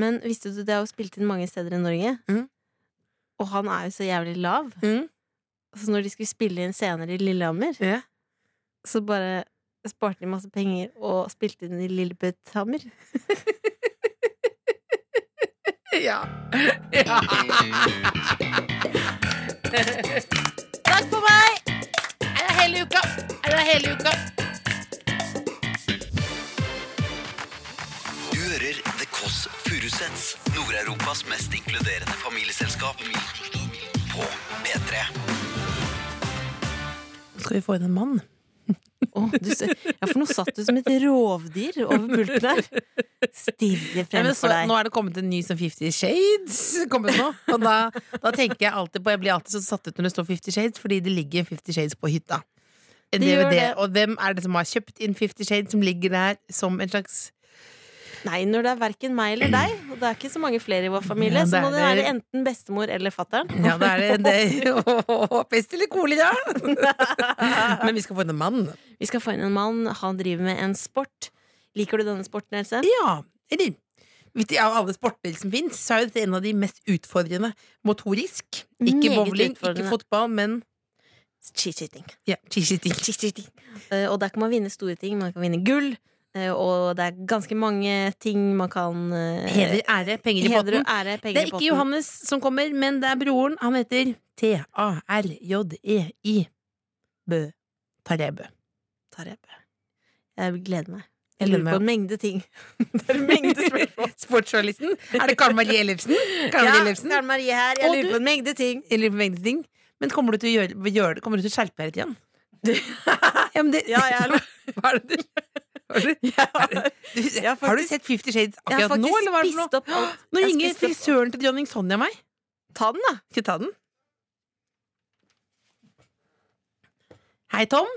S3: Men visste du det er jo spilt inn mange steder i Norge?
S4: Mm.
S3: Og han er jo så jævlig lav.
S4: Mm.
S3: Så Altså, når de skulle spille inn scener i Lillehammer,
S4: Ja.
S3: så bare sparte de masse penger og spilte inn i Lillebøtthammer.
S4: Ja. ja.
S3: Takk for meg!
S4: Er det hele uka? Er det hele uka?
S2: Du hører The Kåss Furuseths, Nord-Europas mest inkluderende familieselskap. På P3.
S4: Skal vi få inn en mann?
S3: Åh, du, ser- ja, for nå satt du som et rovdyr over pulten her. Stirre fremfor deg.
S4: nå er det kommet en ny som Fifty Shades. Kommet nå. Og da, da tenker jeg alltid på Jeg blir alltid så satt ut når det står Fifty Shades, fordi det ligger en Fifty Shades på hytta. En
S3: Det gjør
S4: DVD.
S3: det.
S4: Og hvem er det som har kjøpt inn Fifty Shades, som ligger der som en slags
S3: Nei, når det er verken meg eller deg, og det er ikke så mange flere i vår familie,
S4: Ja,
S3: så
S4: det
S3: må
S4: er
S3: det være
S4: det.
S3: enten bestemor eller fatter'n.
S4: Ja, da er det, det Pest eller kolera? Men vi skal få inn en mann.
S3: Vi skal få inn en mann, han driver med en sport. Liker du denne sporten, Else?
S4: Ja, eller Vet du, Av alle sporter som fins, så er jo dette en av de mest utfordrende motorisk. Ikke
S3: Meget
S4: bowling, ikke
S3: utfordrende.
S4: fotball, men
S3: Cheat-cheating.
S4: ja, skiskyting.
S3: Eh, Og der kan man vinne store ting. Man kan vinne gull, eh, og det er ganske mange ting man kan eh,
S4: Heder, ære, penger i
S3: heder
S4: potten.
S3: og ære, penger
S4: Det er
S3: i potten.
S4: ikke Johannes som kommer, men det er broren. Han heter T-A-R-J-E-I E Bø. Tarjei Bø.
S3: Tarjei. Jeg gleder meg.
S4: Jeg
S3: Jeg
S4: gleder
S3: lurer
S4: meg
S3: på en mengde ting. Det er en mengde spørsmål.
S4: Sportsjournalisten. Er det Karen Marie Ellefsen? Karen Marie Ellefsen?
S3: Karen Marie her. Jeg
S4: Og
S3: lurer
S4: du-
S3: på en mengde ting.
S4: Eller mengde ting. Men kommer du til å gjøre, gjøre det? Kommer du til å skjerpe deg litt igjen? Ja, men det,
S3: Ja, jeg er
S4: Hva er det du hva er det du- du,
S3: jeg har
S4: Har du
S3: faktisk-
S4: sett Fifty Shades
S3: Jeg har
S4: akkurat nå,
S3: faktisk
S4: eller hva er det for
S3: spist
S4: noe?
S3: opp alt.
S4: Nå
S3: Jeg har
S4: ringer
S3: spist opp-
S4: frisøren til dronning Sonja meg.
S3: Ta den, da.
S4: Skal vi ta den? Hei, Tom.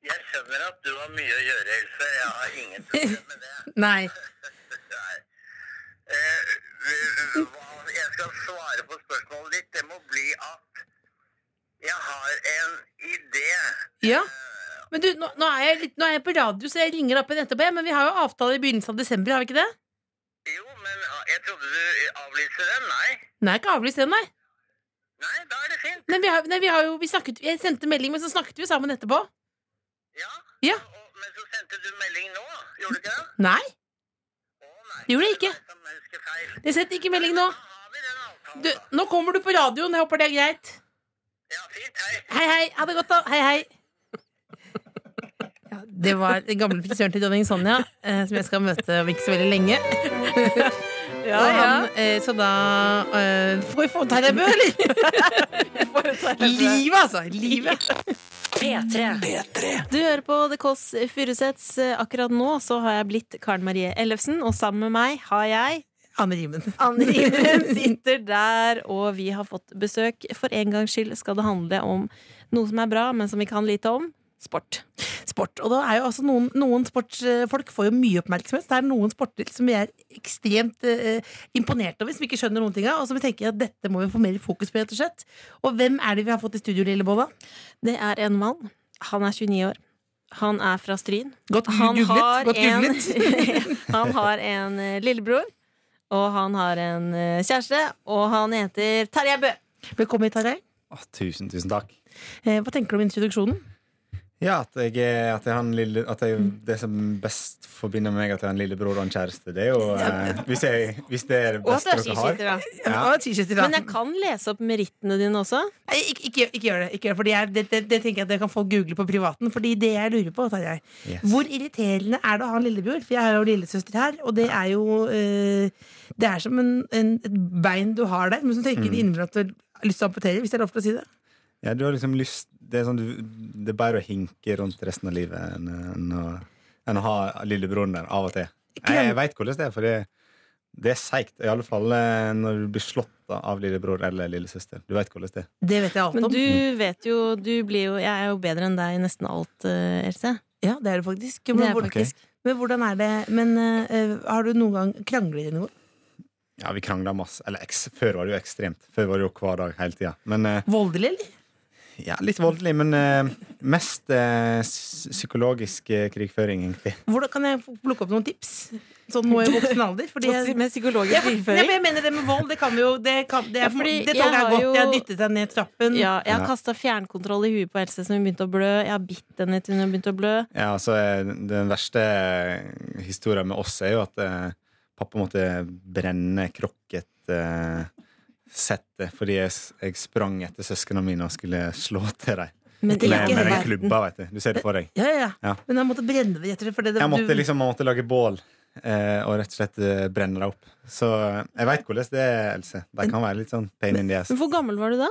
S6: Jeg skjønner at du har mye å gjøre, Else. Jeg har ingen problemer med det.
S4: Nei.
S6: Eh, eh, hva jeg skal svare på spørsmålet ditt, det må bli at jeg har en idé.
S4: Ja. Men du, nå, nå, er jeg litt, nå er jeg på radio, så jeg ringer opp igjen etterpå. jeg, Men vi har jo avtale i begynnelsen av desember, har vi ikke det?
S6: Jo, men ah, jeg trodde du avlyste den. Nei.
S4: Nei, ikke avlyst den, nei.
S6: Nei, da er det fint.
S4: Nei, vi har, nei, vi har jo, vi snakket, jeg sendte melding, men så snakket vi jo sammen etterpå.
S6: Ja.
S4: Ja.
S6: Og, men så sendte du melding nå, gjorde du ikke det?
S4: Nei,
S6: Å nei.
S4: Gjorde jeg ikke.
S6: Det var jeg som husker feil.
S4: jeg sendte ikke melding nå.
S6: Da har vi den samtale.
S4: Du, nå kommer du på radioen, jeg håper det er greit.
S6: Ja, fint. Hei.
S4: Hei, hei. Ha det godt, da. Hei, hei. Ja, det var den gamle frisøren til dronning Sonja, eh, som jeg skal møte om ikke så veldig lenge.
S3: Ja,
S4: Og han, eh, så da eh, Får vi få en tegnebø, eller? Livet, altså. Livet.
S5: P3.
S3: Du hører på The Kåss Furuseths.
S4: Eh,
S3: Akkurat nå så har jeg blitt Karen Marie Ellefsen, og sammen med meg har jeg
S4: Anne Rimen.
S3: Anne Rimen sitter der, og vi har fått besøk. For en gangs skyld skal det handle om noe som er bra, men som vi kan lite om. Sport.
S4: Sport. Og da er jo altså noen, noen sportsfolk får jo mye oppmerksomhet. Det er noen sporter som vi er ekstremt eh, imponert over, som vi ikke skjønner noen ting av, og som vi tenker at dette må vi få mer fokus på, rett og slett. Og hvem er det vi har fått i studio, Lillebolla?
S3: Det er en mann. Han er 29 år. Han er fra Stryn.
S4: Godt
S3: Han
S4: googlet.
S3: har,
S4: godt googlet.
S3: en, han har en eh, lillebror, og han har en eh, kjæreste, og han heter Terje Bø.
S4: Velkommen hit, Tarjei.
S7: Å, tusen, tusen takk.
S4: Eh, hva tenker du om introduksjonen?
S7: Ja, at jeg, er- at jeg har en lille At jeg,
S3: Mm.
S7: det som best forbinder meg at jeg har en lillebror og en kjæreste, det er jo eh, hvis, jeg, hvis det er det
S3: Og at du
S7: beste
S3: er
S7: dere har.
S3: skiskytter, da.
S7: Ja.
S4: Ja, t-shirt i dag.
S3: Men jeg kan lese opp merittene dine også.
S4: Nei, ikke, ikke, gjør- ikke gjør det, ikke gjør det, for det, er- det, det, det tenker jeg at det kan folk google på privaten. Fordi det jeg lurer på, Tarjei
S7: Yes.
S4: Hvor irriterende er det å ha en lillebror? For jeg har jo lillesøster her, og det er jo eh, Det er som en, en, et bein du har der, men som tenker innimellom at du har lyst til å amputere. Hvis det er lov til å si det.
S7: Ja, du har liksom lyst Det er sånn du, Det er bare å hinke rundt resten av livet enn, enn, å, enn å ha lillebroren der av og til. Jeg, jeg veit hvordan det er, for det, det er seigt. I alle fall eh, når du blir slått av lillebror eller lillesøster. Du veit hvordan det er.
S4: Det vet jeg alt
S3: Men
S4: om.
S3: du vet jo, du blir jo Jeg er jo bedre enn deg i nesten alt, eh, Else.
S4: ja, det er du faktisk.
S3: Det
S4: Men,
S3: er
S4: hvor-
S7: faktisk.
S4: men hvordan er det Men eh, har du noen gang kranglet dere noe?
S7: Ja, vi krangla masse. Eller eks, før var det jo ekstremt. Før var det jo hver dag hele tida. Men eh,
S4: Voldelig, eller?
S7: Ja, litt voldelig, men eh, mest eh, s- psykologisk eh, krigføring, egentlig.
S4: Hvordan kan jeg plukke opp noen tips? Sånn nå i voksen alder? Fordi jeg,
S3: Med
S4: Ja,
S3: psykologisk
S4: for- ja, men jeg mener det med vold, det kan vi jo Det, kan, det, er,
S3: Ja, fordi
S4: det
S3: jeg
S4: toget er
S3: har
S4: godt.
S3: jo-
S4: Jeg har dyttet deg ned trappen.
S3: Ja, jeg har
S7: Ja.
S3: kasta fjernkontroll i huet på Else, som hun begynte å blø. Jeg har bitt henne til hun har begynt å blø.
S7: Ja, altså, eh, den verste eh, historien med oss er jo at eh, pappa måtte brenne krokket eh, settet fordi jeg, s- jeg sprang etter søsknene mine og skulle slå til dem.
S3: Men
S4: Det er
S7: Med,
S4: ikke
S7: med den
S4: verden.
S7: klubba, vet du. Du ser det for deg.
S4: Ja, ja, ja.
S7: Ja.
S4: Men jeg måtte brenne det, rett og slett. fordi det-
S7: Jeg måtte
S4: du-
S7: liksom jeg måtte lage bål eh, og rett og slett eh, brenne dem opp. Så eh, jeg veit hvordan det er, Else. De kan være litt sånn pain in the ass.
S3: Men hvor gammel var du da?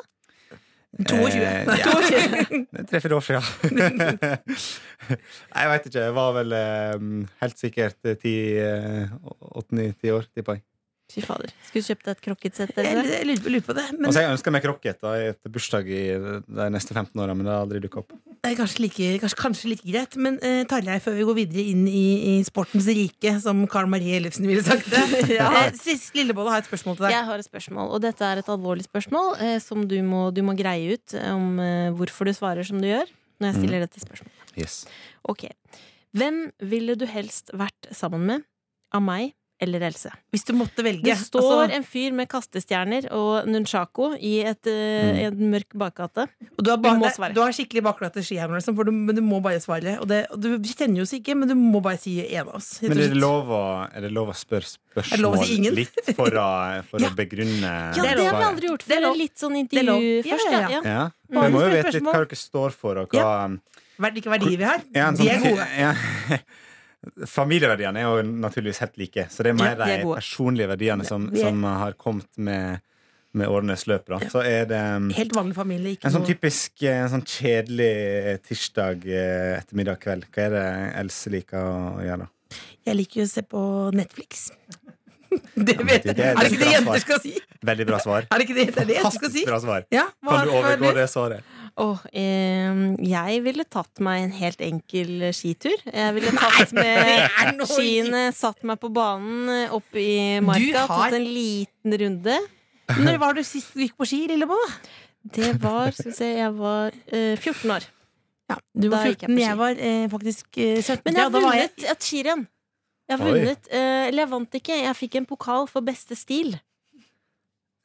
S4: 22.
S7: Eh, ja. Det er Tre-fire år siden. Nei, jeg veit ikke. Jeg var vel eh, helt sikkert eh, ti, åtte-ni-ti år, tipper jeg.
S3: Fy fader. Skulle du kjøpt deg et krokketsett?
S4: Jeg,
S3: Else?
S4: jeg lurer, på- lurer på det. Men
S7: Altså, jeg ønska meg krokket da, etter bursdag i de neste 15 åra, men det har aldri dukka opp.
S4: det er kanskje like, kanskje, kanskje like greit. Men eh, Tarjei, før vi går videre inn i, i sportens rike, som Karl Marie Ellefsen ville sagt det eh, Sist Lillebolle har et spørsmål til deg.
S3: Jeg har et spørsmål, og dette er et alvorlig spørsmål eh, som du må, du må greie ut eh, om eh, hvorfor du svarer som du gjør når jeg
S4: Mm.
S3: stiller dette spørsmålet.
S7: Yes.
S3: Ok. Hvem ville du helst vært sammen med? Av meg eller Else?
S4: Hvis du måtte velge.
S3: Det står
S4: altså,
S3: en fyr med kastestjerner og nunchako i et, eh,
S4: Mm.
S3: en mørk bakgate.
S4: og du, har bare,
S3: du må
S4: det-
S3: svare.
S4: du har skikkelig bakglatt til skihammer, liksom, for du, men du må bare svare. Og, det, og du kjenner jo oss ikke, men du må bare si en av oss. rett og
S7: Men er det
S4: slett.
S7: lov å, er det lov å spørre
S4: Er det lov å
S7: spørsmål
S4: si ingen?
S7: litt for å, for å begrunne
S3: Ja, det, har vi
S7: svaret?
S3: aldri gjort
S4: Det er
S3: før.
S4: lov.
S3: Litt sånn
S4: er lov.
S3: intervju
S4: Ja,
S3: først.
S4: ja,
S3: Ja,
S4: ja.
S3: ja.
S7: Ja.
S3: Bare
S7: Vi må jo
S3: spørre
S7: vite litt hva
S3: spørsmål.
S7: dere står for, og hva
S4: Hver- Hvilke verdier vi har.
S7: Ja, en
S4: de er
S7: sånn-
S4: gode.
S7: Ja. Familieverdiene er jo naturligvis helt like, så det er
S3: Ja,
S7: mer
S3: de er
S7: de
S3: gode.
S7: personlige verdiene som,
S4: Vi er-
S7: som har kommet med, med årenes løp. Da. Så er det um,
S4: Helt vanlig familie. Ikke
S7: en sånn
S4: noe-
S7: typisk eh, en sånn kjedelig tirsdag eh, ettermiddag kveld. Hva er det Else liker å gjøre?
S4: Jeg liker jo å se på Netflix. Det vet jeg.
S7: det er
S4: Er det ikke det
S7: bra
S4: jenter
S7: svar.
S4: skal si?
S7: Veldig bra svar.
S4: Er det ikke det, det, er det jenter skal si?
S7: Fantastisk bra svar.
S4: Ja, hva
S7: Kan du
S4: hva er
S7: overgå
S4: det?
S7: det svaret?
S3: Åh, eh, jeg ville tatt meg en helt enkel eh, skitur. Jeg ville tatt
S4: er
S3: med
S4: noe
S3: skiene, satt meg på banen eh, opp i marka,
S4: har-
S3: tatt en liten runde.
S4: Når var du sist du gikk på ski, Lillebolla?
S3: Det var, skal vi se, jeg var eh, 14 år.
S4: Ja, du
S3: Da
S4: var
S3: gikk jeg
S4: 14,
S3: på
S4: jeg
S3: ski.
S4: var eh, faktisk eh, 17.
S3: Men jeg
S4: ja, da
S3: har
S4: var jeg
S3: vunnet et skirenn. Jeg har
S7: Oi.
S3: vunnet, eh, eller jeg vant ikke, jeg fikk en pokal for beste stil.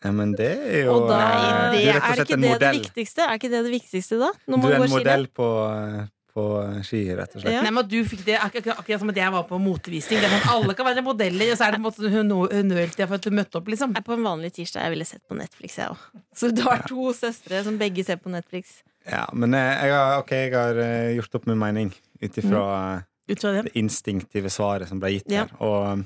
S7: Ja, men det er jo
S3: Og da
S7: eh,
S3: det,
S7: Du er rett og
S3: er
S7: slett
S3: ikke
S7: en
S3: det det
S7: modell.
S3: viktigste? Er ikke det det viktigste da? Når man
S7: Du er
S3: går
S7: en
S3: skirenn?
S7: modell på, eh, på ski, rett og slett.
S3: Ja.
S4: Nei, men at du fikk det akkurat, akkurat, akkurat som at jeg var på motevisning. Det er sånn, alle kan være modeller, og så er det på en måte sånn honor- honnør til deg for at du møtte opp. liksom
S3: Nei, På en vanlig tirsdag jeg ville sett på Netflix, jeg òg. Så du har to søstre som begge ser på Netflix.
S7: Ja, men eh, jeg har, ok, jeg har eh, gjort opp min mening
S3: Mhm.
S7: ut ifra eh,
S4: Ut fra det.
S7: det instinktive svaret som ble gitt
S3: Ja.
S7: her. Og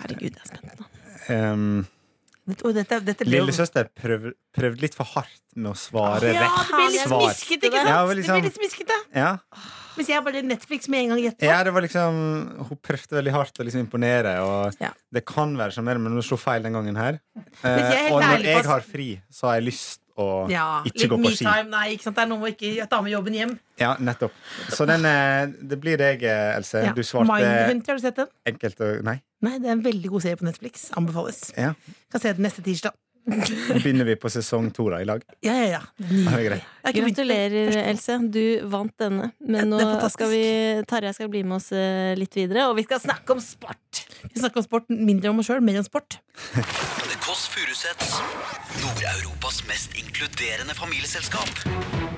S3: Herregud, jeg er spent nå.
S7: ehm,
S4: Og dette, dette ble jo-
S7: lillesøster prøvde prøvd litt for hardt med å svare
S4: Ja,
S7: rett
S4: det blir litt
S7: svar.
S4: smiskete, ikke sant?
S7: Ja, vel,
S4: Det
S7: liksom-
S4: blir litt smiskete
S7: Ja.
S4: Mens jeg bare Netflix med en gang gjetter.
S7: ja, det var liksom Hun prøvde veldig hardt å liksom imponere, og
S4: Ja.
S7: det kan være sånn, men hun slo feil den gangen her. Eh,
S4: Hvis jeg er helt
S7: og
S4: ærlig på
S7: når
S4: at-
S7: jeg har fri, så har jeg lyst å
S4: Ja,
S7: ikke
S4: litt
S7: gå på ski.
S4: me-time. Nei, ikke sant? Det er noe å ikke ta med jobben hjem.
S7: Ja, nettopp. Så den, eh, det blir deg, eh, Else.
S4: Ja.
S7: Du svarte
S4: Mindhunter, har du sett den?
S7: enkelt og Nei.
S4: Nei, det er en veldig god serie på Netflix. Anbefales.
S7: Ja.
S4: Kan se den neste tirsdag.
S7: Begynner vi på sesong to da, i lag?
S4: Ja, ja, ja.
S7: Ja, det er
S4: Jeg
S7: greit.
S4: har ikke begynt på den.
S3: Gratulerer, Else. Du vant denne. Men nå
S4: Ja, det er fantastisk.
S3: skal vi Tarjei skal bli med oss eh, litt videre, og vi skal snakke om sport.
S4: Vi snakker om sport mindre om oss sjøl, mer om sport.
S2: The Kåss Furuseths. Nord-Europas mest inkluderende familieselskap.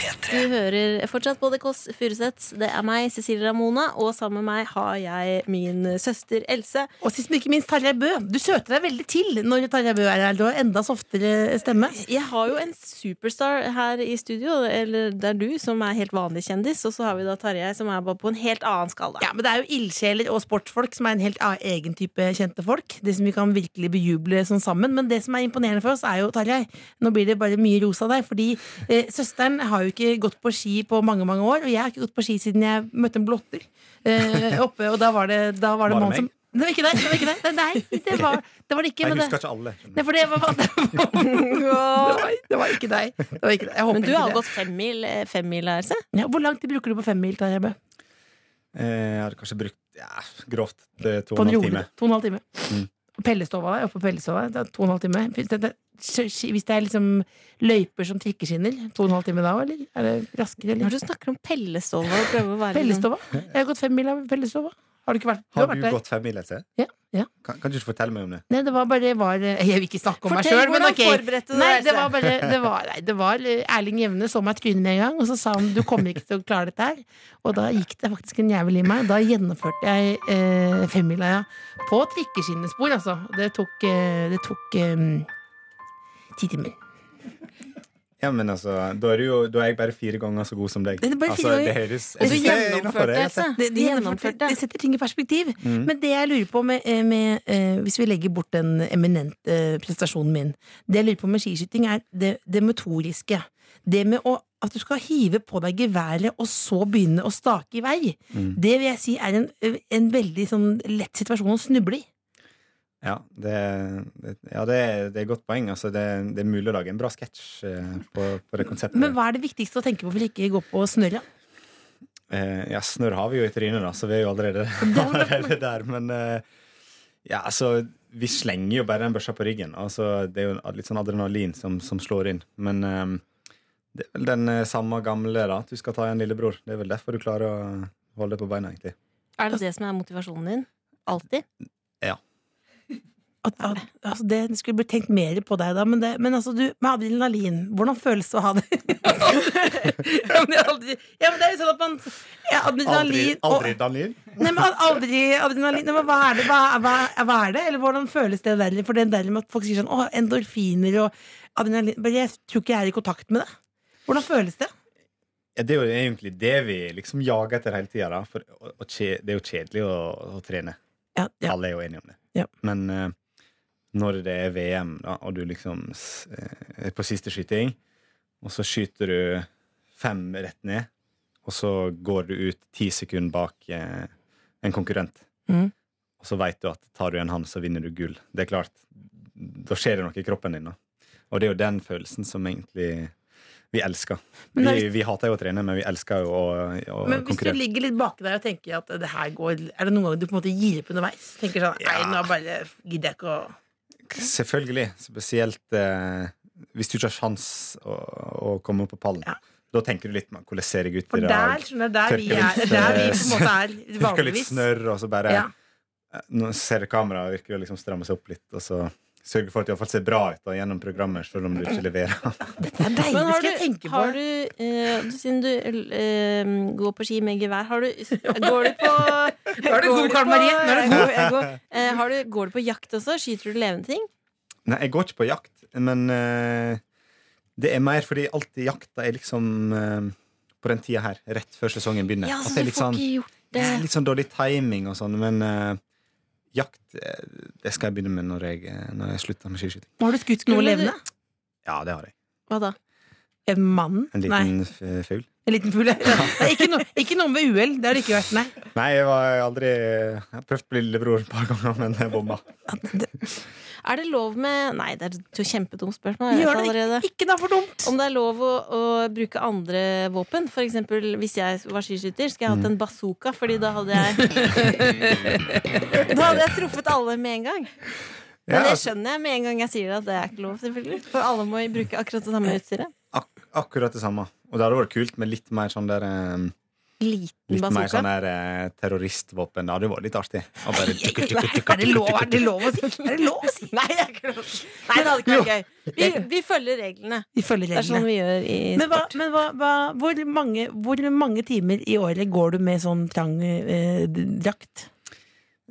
S3: Du
S2: P3.
S3: hører fortsatt på The Kåss Furuseths. Det er meg, Cecilie Ramona, og sammen med meg har jeg min søster Else.
S4: Og sist, men ikke minst, Tarjei Bø. Du søter deg veldig til når Tarjei Bø er her. Du har enda softere stemme.
S3: Jeg har jo en superstar her i studio, eller det er du som er helt vanlig kjendis, og så har vi da Tarjei som er bare på en helt annen skala.
S4: Ja, men det er jo ildsjeler og sportsfolk som er en helt a- egen type kjente folk. Det som vi kan virkelig bejuble sånn sammen. Men det som er imponerende for oss, er jo Tarjei. Nå blir det bare mye ros av deg, fordi eh, søsteren har jo ikke gått på ski på mange, mange år. Og jeg har ikke gått på ski siden jeg møtte en blotter eh, oppe, og da var det, da var det,
S7: Var det
S4: mann
S7: meg?
S4: som Det var ikke deg! Det var ikke deg. Nei, nei, det var det, var det ikke.
S7: Jeg
S4: men det-
S7: husker ikke alle.
S4: Nei, for det var, det, var, det, var, det var ikke deg. Det var ikke deg. Jeg håper
S3: Men du
S4: ikke
S3: har
S4: det.
S3: gått femmil, eh, femmil Else.
S4: Ja, hvor lang tid bruker du på femmil, Tarjei Bø?
S7: Eh, Jeg hadde kanskje brukt ja, grovt eh, to
S4: På
S7: og
S4: en
S7: en halv
S4: rolig
S7: time.
S4: to og en halv time.
S7: Mm.
S4: Pellestova der, oppe på Pellestova. Det er to og en halv time. Hvis det, det, hvis det er liksom løyper som trikkeskinner, to og en halv time da, eller? Er det raskere,
S3: Når
S4: eller?
S3: du snakker om pellestova og prøver å være
S4: Pellestova? Jeg har gått fem mil av Pellestova. Har du ikke vært,
S7: Har
S4: har
S7: du
S4: vært der?
S7: gått fem mil, Else?
S4: Ja, ja.
S7: Kan, kan du ikke fortelle meg om det?
S4: Nei, det var bare det var, Jeg vil ikke snakke om meg
S3: Fortell
S4: sjøl, men
S3: hvordan
S4: ok.
S3: forberedte du
S4: Nei,
S3: deg,
S4: det
S3: Else?
S4: var bare det var, nei, det var eh, Erling Jevne så meg i trynet med en gang, og så sa han du kommer ikke til å klare dette her. Og da gikk det faktisk en jævel i meg. Da gjennomførte jeg eh, femmila ja. på trikkeskinnespor, altså. Det tok, eh, det tok eh, ti timer.
S7: Ja, men altså, da er, det jo, da er jeg bare fire ganger så god som deg.
S4: Det er bare
S7: altså,
S4: fire
S7: det
S4: ganger.
S7: høres
S3: Og
S7: jeg
S3: du
S7: synes det er innenfor
S3: gjennomførte,
S7: det,
S3: Else.
S4: Det,
S7: Else.
S3: Du
S4: det, gjennomførte-
S3: gjennomførte.
S4: det setter ting i perspektiv.
S7: Mm.
S4: Men det jeg lurer på med, eh, med, eh, Hvis vi legger bort den eminente eh, prestasjonen min Det jeg lurer på med skiskyting, er det, det motoriske. Det med å, at du skal hive på deg geværet og så begynne å stake i vei.
S7: Mm.
S4: Det vil jeg si er en, en veldig sånn lett situasjon å snuble i.
S7: Ja, det, det, ja det, er- det er et godt poeng. Altså, det, det er mulig å lage en bra sketsj eh, på, på det konseptet.
S4: Men hva er det viktigste å tenke på for ikke å gå på snørra?
S7: Eh, ja, snørr har vi jo i trynet, da, så vi er jo allerede, allerede der. Men eh, ja, altså Vi slenger jo bare den børsa på ryggen. Altså, det er jo litt sånn adrenalin som, som slår inn. Men eh, det er vel den eh, samme gamle, da. at Du skal ta igjen lillebror. Det er vel derfor du klarer å holde deg på beina, egentlig.
S3: Er det det som er motivasjonen din? Alltid?
S4: At, at, altså det skulle blitt tenkt mer på deg da, men, det, men altså du, med adrenalin, hvordan føles det å ha det? ja, men jeg aldri, ja, men det er jo sånn at man ja, Adrenalin
S7: aldri
S4: og,
S7: Daniel.
S4: Nei, men aldri adrenalin. Nei, men hva er det? Hva, hva, hva er det? Eller hvordan føles det der? For det der med at folk sier sånn Å, endorfiner og adrenalin Bare jeg tror ikke jeg er i kontakt med det. Hvordan føles det?
S7: Ja, det er jo egentlig det vi liksom jager etter hele tida. da. For å- å kje- Det er jo kjedelig å, å trene.
S4: Ja, ja.
S7: Alle er jo enige om det.
S4: Ja.
S7: Men eh, når det er VM, da, og du liksom s- eh, er på siste skyting, og så skyter du fem rett ned, og så går du ut ti sekunder bak eh, en konkurrent,
S4: Mhm.
S7: og så veit du at tar du igjen han, så vinner du gull. Det er klart. Da skjer det noe i kroppen din, da. Og det er jo den følelsen som egentlig vi elsker.
S4: Men det er
S7: Vi, vi hater jo å trene, men vi elsker jo å, å
S4: Men hvis du
S7: konkurrere.
S4: ligger litt baki der og tenker at det her går Er det noen ganger du på en måte gir opp underveis? Tenker sånn Nei, nå bare gidder jeg ikke å
S7: Selvfølgelig. Spesielt eh, hvis du ikke har sjans å, å komme opp på pallen.
S4: Ja.
S7: Da tenker du litt med hvordan ser jeg ut
S4: For
S7: i
S4: der,
S7: dag.
S4: skjønner jeg, der vi
S7: Tørker
S4: er,
S7: litt,
S4: der vi
S7: eh,
S4: på en måte er
S7: Tørker litt
S4: vanligvis.
S7: snørr, og så bare
S4: Ja.
S7: eh, Nå ser kameraet og virker å liksom stramme seg opp litt, og så sørge for at de iallfall ser bra ut da, gjennom programmer, selv om du ikke leverer.
S4: Dette er deilig,
S3: Men har
S4: skal jeg
S3: du,
S4: tenke på.
S3: har du eh, du- siden du eh, går på ski med gevær, har du Går du på
S4: Nå er du god, Karl Marie. Nå er du god.
S3: Jeg går, eh, har du, går du på jakt også? Skyter du levende ting?
S7: Nei, jeg går ikke på jakt, men eh, det er mer fordi alltid jakta er liksom eh, på den tida her, rett før sesongen begynner. At det er litt sånn,
S3: gjort
S7: det er litt sånn dårlig timing og sånn, men eh, jakt eh, det skal jeg begynne med når jeg, eh, når jeg slutter med skiskyting.
S4: Har du skutt noe
S3: Skulle du-
S4: levende?
S7: Ja, det har jeg.
S3: Hva da?
S4: En mann?
S7: En
S4: Nei.
S7: liten f- fugl.
S4: En liten fugl? Nei, Ikke, noe- ikke noe med uhell. Det har det ikke vært, nei.
S7: Nei, jeg var aldri Jeg har prøvd på lillebror et par ganger, men jeg bomma.
S3: Er det lov med Nei, det er et kjempedumt spørsmål. Jeg
S4: Gjør
S3: vet
S4: det
S3: allerede.
S4: ikke, ikke da for dumt!
S3: Om det er lov å, å bruke andre våpen? For eksempel, hvis jeg var skiskytter, skulle jeg
S4: Mm.
S3: hatt en bazooka, Fordi da hadde jeg Da hadde jeg truffet alle med en gang. Men
S7: Ja,
S3: det
S7: altså,
S3: skjønner jeg med en gang jeg sier det, at det er ikke lov, selvfølgelig. For alle må jo bruke akkurat det samme utstyret.
S7: ak akkurat det samme. Og det hadde vært kult med litt mer sånn der eh,
S3: Liten
S7: Litt mer
S3: bazooka.
S7: sånn der eh, terroristvåpen. Det hadde jo vært litt artig. Og bare tukk, tukk, tukk,
S4: Er det lov, er det lov å si? Er det lov å si?
S3: Nei, det er ikke lov. Nei, det hadde ikke vært gøy. Vi, vi følger reglene.
S4: Vi følger
S3: Det er sånn
S4: reglene.
S3: vi gjør i
S4: Men, hva,
S3: sport.
S4: men hva, hva, hvor, mange, hvor mange timer i året går du med sånn trang eh, drakt?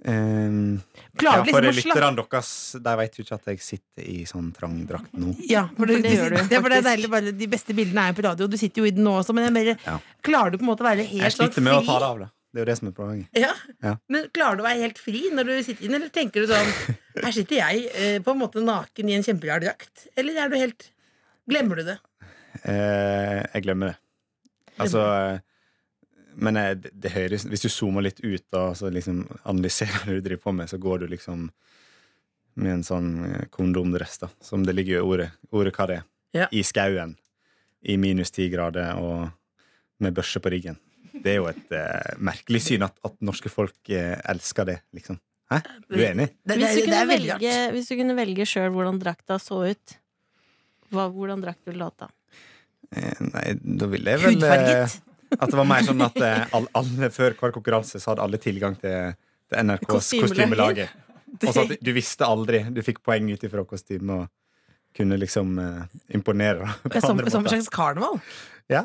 S7: Ehm, ja,
S4: Klarer du liksom
S7: for
S4: å slappe
S7: lytterne deres, de vet jo ikke at jeg sitter i sånn trang drakt nå.
S4: Ja, for det,
S3: For det
S4: du,
S3: gjør du,
S4: det, er for det er deilig bare De beste bildene er jo på radio, du sitter jo i den nå også, men jeg bare,
S7: Ja.
S4: klarer du på en måte å være
S7: Jeg
S4: helt sånn
S7: sliter med å ta det
S4: fri?
S7: av, da. Det er jo det som er poenget.
S4: Ja.
S7: Ja.
S4: Men klarer du å være helt fri når du sitter inne, eller tenker du sånn Her sitter jeg eh, på en måte naken i en kjemperar drakt, eller er du helt Glemmer du det?
S7: Eh, jeg glemmer det. Altså eh, Men eh, det, det høres Hvis du zoomer litt ut da, så liksom analyserer det du driver på med, så går du liksom med en sånn eh, kondomdress, da, som det ligger i ordet, ordet hva det er,
S4: Ja.
S7: i skauen. I minus ti grader og med børse på ryggen. Det er jo et eh, merkelig syn at, at norske folk eh, elsker det, liksom. Hæ? Du er enig?
S3: Hvis du
S4: Det, det- det
S3: kunne
S4: er veldig rart.
S3: velge, hvis du kunne velge sjøl hvordan drakta så ut, hva, hvordan drakt ville du hatt da?
S7: Eh, Nei, da ville jeg vel eh,
S4: Hudfarget?
S7: At det var mer sånn at eh, all- alle før hver konkurranse så hadde alle tilgang til, til NRKs
S3: Kostymelager.
S7: kostymelager. Og så at du visste aldri. Du fikk poeng ut ifra kostyme og kunne liksom eh, imponere. da,
S4: Det
S7: På
S4: er som,
S7: andre
S4: som en
S7: måter.
S4: slags karneval.
S7: Ja.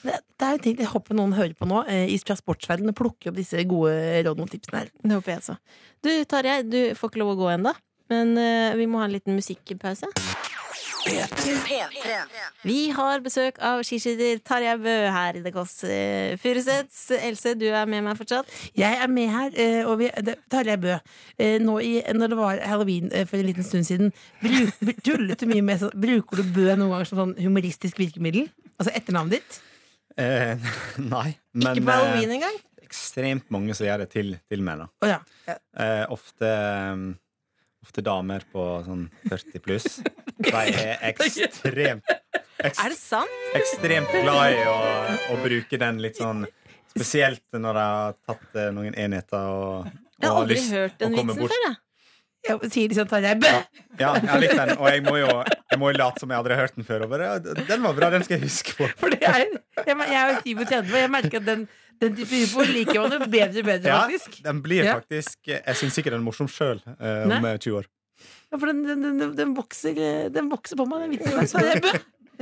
S4: Det, det er jo ting jeg håper noen hører på nå, eh, i- fra sportsverdenen, og plukker opp disse gode rådene og tipsene her.
S3: Det håper jeg så. Du, Tarjei, du får ikke lov å gå ennå. Men eh, vi må ha en liten musikkpause.
S5: P3.
S3: Vi har besøk av skiskytter Tarjei Bø her i The Kåss eh, Furuseths. Else, du er med meg fortsatt.
S4: Jeg er med her, eh, og vi, det, Tarjei Bø. eh, Nå i, når det var halloween eh, for en liten stund siden, bruk, br- tullet du mye med sånn Bruker du Bø noen ganger som sånn humoristisk virkemiddel? Altså etternavnet ditt?
S7: Eh, nei. Men
S3: Ikke på
S7: eh,
S3: halloween engang.
S7: ekstremt mange som gjør det til, til meg. da.
S4: Å ja.
S7: Eh, ofte, eh, ofte damer på sånn 40 pluss. De er ekstremt
S3: Er det sant?
S7: ekstremt glad i å, å bruke den litt sånn Spesielt når jeg har tatt eh, noen enheter og, og
S3: Jeg har aldri
S7: lyst
S3: hørt
S7: å
S3: den
S7: komme
S3: vitsen
S7: bort.
S3: før. Jeg.
S4: Jeg sier liksom Tarjei Bø!
S7: Ja, jeg har likt den, og jeg må jo jeg må jo late som jeg aldri har hørt den før. Og bare, «Ja, den var bra, den skal jeg huske på.
S4: For det er, jeg, mer- jeg er jo 37, og jeg merker at den, den type humor liker man jo bedre og bedre,
S7: Ja,
S4: faktisk.
S7: den blir
S4: Ja.
S7: faktisk eh, Jeg syns sikkert den er morsom sjøl om
S4: Nei.
S7: eh, 20 år.
S4: Ja, for den, den, den, den, vokser, eh, den vokser på meg, den vitsen. der, Tarjei Bø.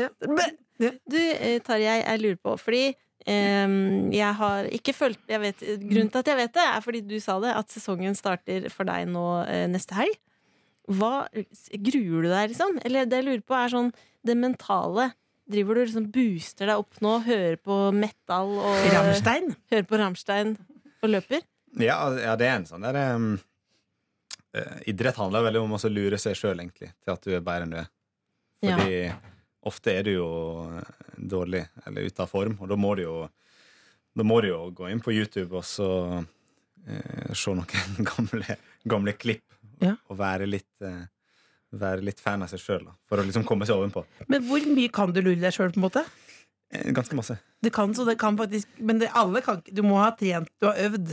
S4: Ja. Bø.
S3: Du, eh, Tarjei, jeg lurer på Fordi ehm, jeg har ikke følt jeg vet, Grunnen til at jeg vet det, er fordi du sa det, at sesongen starter for deg nå eh, neste helg. Hva Gruer du deg, liksom? Eller det jeg lurer på, er sånn det mentale. Driver du liksom booster deg opp nå, hører på metal og
S4: Rammstein.
S3: hører på Rammstein og løper?
S7: Ja, ja, det er en sånn der em, eh, Idrett handler veldig om også å lure seg sjøl, egentlig, til at du er bedre enn du er.
S3: Ja.
S7: Fordi ofte er du jo eh, dårlig eller ute av form, og da må du jo da må du jo gå inn på YouTube og så eh, se noen gamle, gamle klipp
S4: Ja.
S7: og være litt, eh, være litt fan av seg sjøl for å liksom komme seg ovenpå.
S4: Men hvor mye kan du lure deg sjøl, på en måte?
S7: Eh, Ganske masse.
S4: Du kan, så det kan faktisk Men det, alle kan ikke Du må ha trent, du har øvd.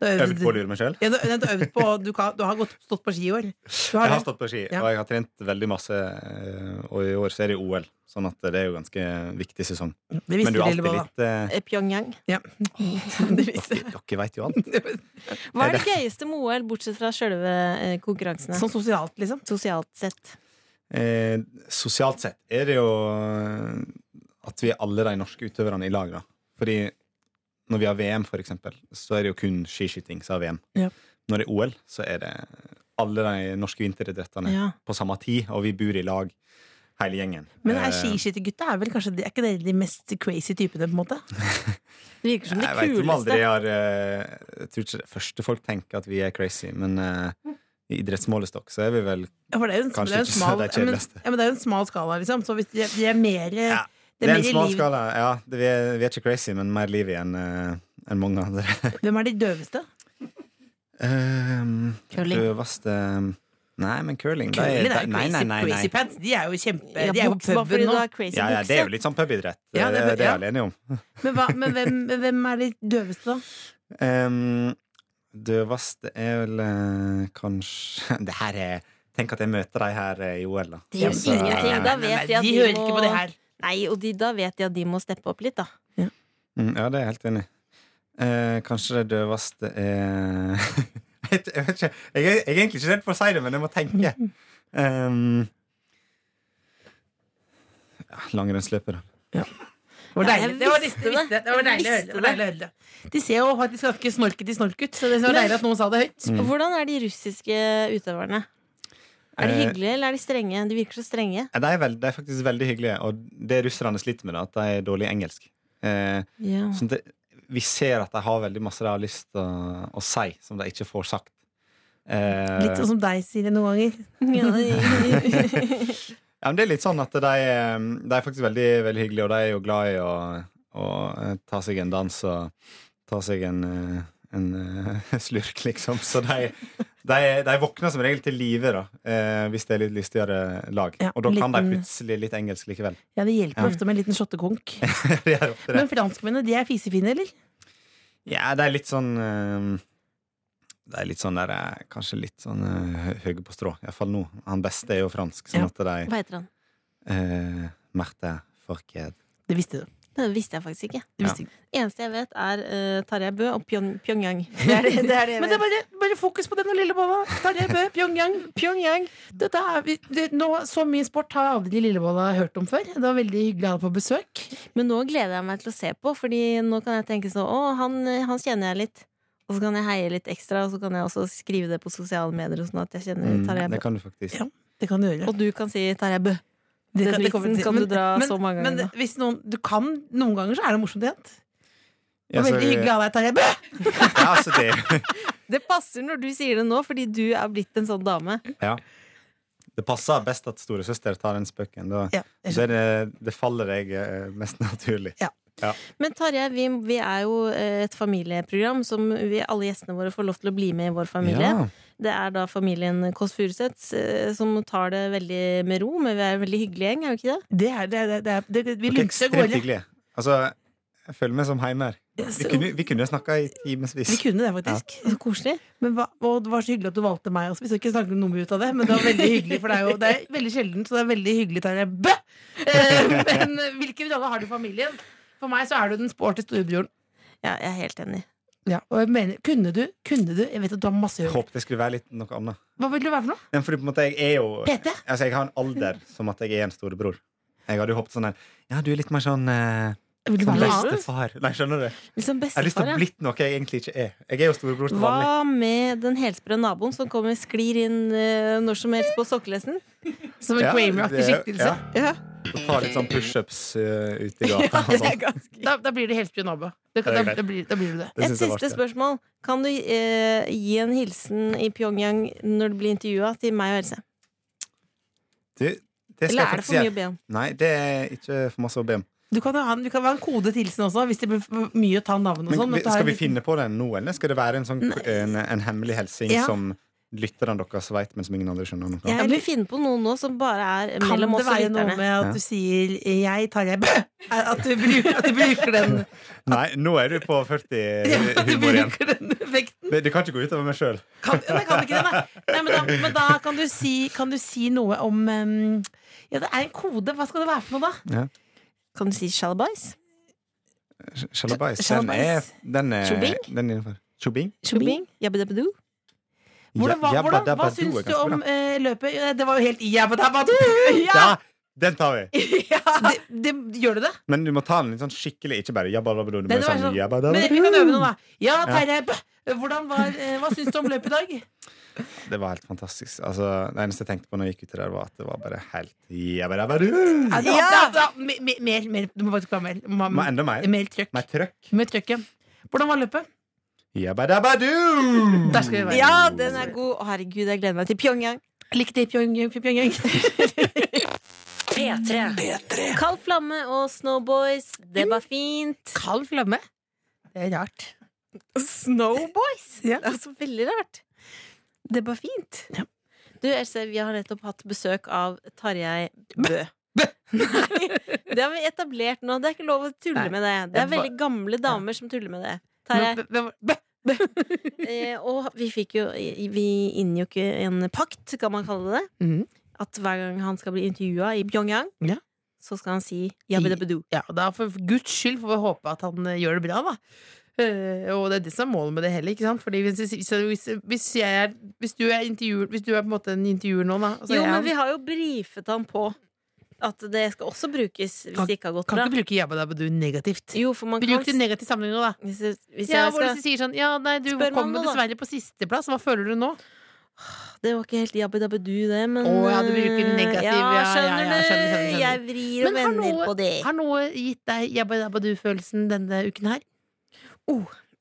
S4: Du har
S7: Øvd på å lure meg sjøl.
S4: Ja, du, nei, du, har øvd på, du, kan, du har gått, stått på ski i år. Du
S7: Jeg har
S4: det.
S7: stått på ski,
S4: Ja.
S7: og jeg har trent veldig masse. eh, Og i år så er det OL, sånn at det er jo ganske viktig sesong.
S4: det
S7: Men
S4: visste
S7: du er
S4: Lillebolla.
S7: alltid litt eh,
S3: Eh, Pyongyang.
S4: Ja. Det visste
S7: Dere, dere veit jo alt.
S3: Hva er det gøyeste med OL, bortsett fra sjølve eh, konkurransene?
S4: Sånn sosialt, liksom.
S3: Sosialt sett.
S7: Eh, sosialt sett er det jo eh, at vi er alle de norske utøverne i lag. Da. Fordi når vi har VM, for eksempel, så er det jo kun skiskyting som har VM.
S4: Ja.
S7: Når det er OL, så er det alle de norske vinteridrettene
S3: Ja.
S7: på samme tid, og vi bor i lag, hele gjengen.
S4: Men er
S7: Eh,
S4: skiskyttergutta er vel kanskje de- er ikke dere de mest crazy typene, på en måte?
S3: Det virker som det
S7: jeg vet om
S3: kuleste.
S7: aldri jeg har eh, Jeg tror ikke det første folk tenker at vi er crazy, men eh, i idrettsmålestokk så er vi vel
S4: Ja, for det er jo en,
S7: Kanskje
S4: det er jo en
S7: ikke så
S4: smal,
S7: det er
S4: ja, men,
S7: kjedeligste.
S4: ja, men det er jo en smal skala, liksom. Så hvis de, de er mer
S7: Ja,
S4: Det er
S7: Det er en
S4: mer i
S7: smal
S4: liv.
S7: skala. Ja, det, vi, er, vi er ikke crazy, men mer liv i enn eh, enn mange andre.
S4: Hvem er de døveste?
S7: Um,
S3: Curling.
S7: Døveste Nei, men curling, det
S4: Curling er
S7: det-
S4: jo
S7: nei, nei,
S4: crazy,
S7: nei,
S4: crazy
S7: nei.
S4: pants. De er jo kjempe
S3: Ja,
S4: De er jo
S3: bukse, bare
S4: puben
S3: fordi du
S4: nå.
S3: har crazy
S7: Ja, ja,
S3: bukse.
S7: det er jo litt sånn pubidrett.
S4: Ja,
S7: det,
S4: det er-
S7: det er
S4: ja.
S7: jeg alene om.
S4: Men, hva, men hvem, hvem er de døveste, da?
S7: Um, døveste er vel eh, kanskje Det her er Tenk at jeg møter de her eh, i OL, da.
S3: Det gjør
S7: Altså,
S3: ingenting, da.
S7: eh,
S3: vet de
S4: de,
S3: at de
S4: hører
S3: må-
S4: ikke på det her.
S3: Nei, og de, da vet de at de må steppe opp litt, da.
S7: mm, Ja, det er jeg helt enig i. Eh, kanskje det døveste er Jeg vet ikke. Jeg er, jeg er egentlig ikke redd for å si det, men jeg må tenke. Um, ja, Langrennsløper, da.
S4: Det var
S3: Nei,
S4: deilig,
S3: jeg
S4: det var,
S3: visste
S4: det,
S3: det.
S4: det var deilig å høre det. det var deilig å høre det. De ser jo faktisk ganske snorkete snork ut, så det var
S3: Men-
S4: deilig at noen sa det høyt.
S7: Mm.
S3: Hvordan er de russiske utøverne? Er de
S7: Eh,
S3: hyggelige, eller er de strenge? De virker så strenge.
S7: Ja, De er, veld, de er faktisk veldig hyggelige, og det russerne sliter med, da, at de er dårlig i engelsk. Eh,
S4: Mm.
S3: Ja.
S7: sånn at det, vi ser at de har veldig masse de har lyst til å, å si, som de ikke får sagt. Eh,
S4: Litt sånn som deg, Silje, noen ganger.
S7: ja, men det er litt sånn at de, er- de er faktisk veldig, veldig hyggelige, og de er jo glad i å, å eh, ta seg en dans og ta seg en, eh, en eh, slurk, liksom. Så de, de, de våkner som regel til live, da, eh, hvis det er litt lystigere lag.
S4: Ja,
S7: og da kan
S4: liten-
S7: de plutselig litt engelsk likevel.
S4: Ja, det hjelper
S7: Ja.
S4: ofte med en liten shottekonk.
S7: det er ofte det.
S4: Men franskmennene, de er fisefine, eller?
S7: Ja, det er litt sånn eh, Det er litt sånn der eh, Kanskje litt sånn uh, høye på strå. Iallfall nå. Han beste er jo fransk, sånn
S4: Ja.
S7: at de
S3: Hva heter han?
S7: uh, Merte Forked.
S4: Det visste du.
S3: Det visste jeg faktisk ikke.
S4: Det visste du.
S3: Eneste jeg vet, er eh, Tarjei Bø og Pyong, Pyongyang. Det er det, det er det jeg
S4: Men det er
S3: vet.
S4: bare, bare fokus på den og Lillebolla. Tarjei Bø, Pyongyang.
S3: Pyongyang.
S4: Dette er, vi- det, nå, så mye sport har aldri Lillebolla hørt om før. Det var veldig hyggelig å ha deg på besøk.
S3: Men nå gleder jeg meg til å se på, Fordi nå kan jeg tenke sånn Å, han, han kjenner jeg litt. Og så kan jeg heie litt ekstra, og så kan jeg også skrive det på sosiale medier. Og sånn at jeg kjenner
S7: Mm,
S3: Tarjei
S7: det
S3: Bø.
S7: kan du faktisk.
S4: Ja. Det kan du gjøre.
S3: Og du kan si Tarjei Bø.
S4: Det,
S3: Den
S4: kommer
S3: vitsen
S4: til-
S3: kan du dra så mange
S4: men,
S3: ganger. nå.
S4: Men hvis noen, du kan, noen ganger så er det morsomt igjen. Og
S7: Ja, så-
S4: veldig hyggelig å ha deg, Tarjei Bø!
S7: Ja, altså det,
S3: Det passer når du sier det nå, fordi du er blitt en sånn dame.
S7: ja. det passer best at storesøster tar den spøken. Da,
S4: Ja, jeg
S7: så er det, det faller jeg eh, mest naturlig.
S3: Men Tarjei, vi, vi er jo eh, et familieprogram som vi, alle gjestene våre får lov til å bli med i vår familie.
S7: Ja.
S3: Det er da familien Kåss Furuseth eh, som tar det veldig med ro, men vi er en veldig hyggelig gjeng, er vi ikke det?
S4: Det er, det er, det er, det er, vi
S7: Dere er
S4: lunter av
S7: ekstremt
S4: gårde.
S7: hyggelige. Altså, jeg føler meg som hjemme her. Vi
S4: Så-
S7: kunne, vi kunne snakka i timevis.
S4: Vi kunne det, faktisk.
S3: Så koselig.
S4: Men hva, og det var så hyggelig at du valgte meg også. Vi skal ikke snakke noe mye ut av det, men det var veldig hyggelig for deg. Og det er veldig sjelden, så det er veldig hyggelig, Tarjei Bø! Eh, Men eh, hvilken rolle har du i familien? For meg så er du den sporty storebroren.
S3: Ja, jeg er helt enig.
S4: Ja, og jeg mener, kunne du, kunne du Jeg vet at du har masse
S7: Jeg
S4: jobb.
S7: håpet det skulle være litt noe annet.
S4: Hva vil du være for noe?
S7: Nei, fordi på en måte jeg er jo
S4: PT?
S7: Altså, jeg har en alder som at jeg er en storebror. Jeg hadde jo håpet sånn her Ja, du er litt mer sånn eh,
S4: Vil du
S7: sånn
S4: være noe annet?
S7: bestefar. Nei, skjønner du? Jeg
S3: Liksom
S7: har lyst til
S3: bestefar,
S7: å
S3: ja.
S7: bli noe jeg egentlig ikke er. Jeg er jo storebror til vanlig.
S3: Hva med den helsprø naboen som kommer sklir inn eh, når som helst på sokkelesten?
S4: Som en
S7: Ja,
S4: Kramer-aktig
S7: det-
S4: skikkelse? Ja.
S7: Så ta litt sånn pushups uh, ute i gata. og sånn.
S4: Da, da blir du helsprø nabo. Da,
S7: er
S4: da,
S7: greit.
S4: da, blir, da blir du det.
S7: Det
S3: Et
S7: synes jeg
S3: siste
S7: var artig.
S3: spørsmål. Kan du eh, gi en hilsen i Pyongyang når du blir intervjua, til meg og Else?
S7: Du, det skal jeg
S3: Eller er det
S7: faktisk
S3: for mye å
S7: gjøre.
S3: be om?
S7: Nei, det er ikke for masse å be om.
S4: Du kan jo ha en, du kan ha en kode til hilsen også, hvis det blir for mye å ta navn og
S7: Men
S4: sånn.
S7: vi-
S4: at du har
S7: skal
S4: en
S7: vi
S4: liten-
S7: finne på den nå, eller skal det være en, sånn, en, en hemmelig hilsen
S4: Ja.
S7: som lytterne deres veit, men som ingen andre skjønner noe av.
S3: Jeg vil finne på noen nå som bare er
S4: Kan
S3: mellom
S4: det
S3: oss og
S4: være noe
S3: lytterne.
S4: med at du sier 'jeg tar jeg bæ'? At du bruker, at du bruker den
S7: Nei, nå er du på 40-humor igjen.
S4: bruker den effekten?
S7: Det, det kan ikke gå utover meg sjøl.
S4: Kan, nei, kan ikke det, nei. nei men, da, men da kan du si, kan du si noe om em, Ja, det er en kode. Hva skal det være for noe, da?
S3: Kan du si 'shalabais'?
S7: Sjalabais. Den er,
S4: Shalabais.
S7: den er,
S3: Tjobing?
S7: den er innenfor. Tjobing?
S3: Shubing? Yabba-dabba-doo?
S4: Hvordan, hva,
S7: Ja- jabba
S4: hvordan, hva
S7: dabba do er
S4: syns du
S7: ganske
S4: om
S7: bra.
S4: eh, løpet? Eh, Det var jo helt jabba-dabba-do! Ja!
S7: Ja! Den tar vi!
S4: Det, det, gjør du det?
S7: Men du må ta den litt sånn skikkelig. Ikke bare jabba dabba do. Du
S4: Nei,
S7: må
S4: det var
S7: sånn,
S4: sånn-
S7: jabba dabba
S4: Men
S7: do.
S4: vi kan øve noe, da. Ja, Terje, bæ! Hvordan var, eh, hva syns du om løpet i dag?
S7: Det var helt fantastisk. Altså, det eneste jeg tenkte på når jeg gikk uti der, var at det var bare helt jabba dabba do.
S4: Ja, da, da, da, me- me- mer, mer, du må faktisk ha mer. Ma-
S7: Må Enda mer.
S4: Mer trøkk.
S7: Med trøkk.
S4: Mer trøkk, ja. Hvordan var løpet?
S7: Jabba dabba do!
S4: Der skal vi være.
S3: Ja, den er god! Å, herregud, jeg gleder meg til Pyongyang.
S4: Lik det i Pyongyang. Pyongyang.
S5: P3.
S3: Kald flamme og Snowboys, det var fint.
S4: Kald flamme. Det er rart.
S3: Snowboys?
S4: Ja.
S3: Altså, veldig rart. Det var fint. Du, Else, vi har nettopp hatt besøk av Tarjei Bø. Nei, det har vi etablert nå. Det er ikke lov å tulle
S4: Nei.
S3: med det. Det er
S4: Jeg ba-
S3: veldig gamle damer som tuller med det. Tarjei,
S4: Men hvem var- Bø!
S3: Eh, og vi fikk jo Vi inngikk jo en pakt, kan man kalle det.
S4: Mhm.
S3: At hver gang han skal bli intervjua i Pyongyang,
S4: Ja.
S3: så skal han si jabbedabbedoo.
S4: Ja, da for guds skyld får vi håpe at han eh, gjør det bra, da. Eh, og det er det som er målet med det heller. Ikke sant? Fordi hvis, hvis, hvis, hvis, jeg er, hvis du er intervjuer Hvis du er på en måte en intervjuer nå, da og så er
S3: Jo,
S4: jeg
S3: men
S4: han,
S3: vi har jo brifet han på at det skal også brukes hvis
S4: Kan-
S3: det ikke har gått
S4: Kan
S3: bra.
S4: ikke bruke jabba dabba du negativt.
S3: Jo, for man kan
S4: Bruk det i negativ sammenheng nå, da.
S3: hvis, jeg- hvis
S4: Ja,
S3: jeg
S4: hvor
S3: skal
S4: du sier sånn Ja, nei, du
S3: Spør
S4: kom
S3: mamma, da.
S4: dessverre på sisteplass. Hva føler du nå?
S3: Det var ikke helt jabbedabbedoo, det, men eh,
S4: Å, ja, du bruker negativ,
S3: Ja,
S4: ja, ja,
S3: skjønner
S4: ja, skjønner,
S3: du?
S4: skjønner, skjønner.
S3: Jeg vrir og
S4: Men har
S3: vender
S4: noe-
S3: på det.
S4: Har noe gitt deg jabba dabba du-følelsen denne uken her?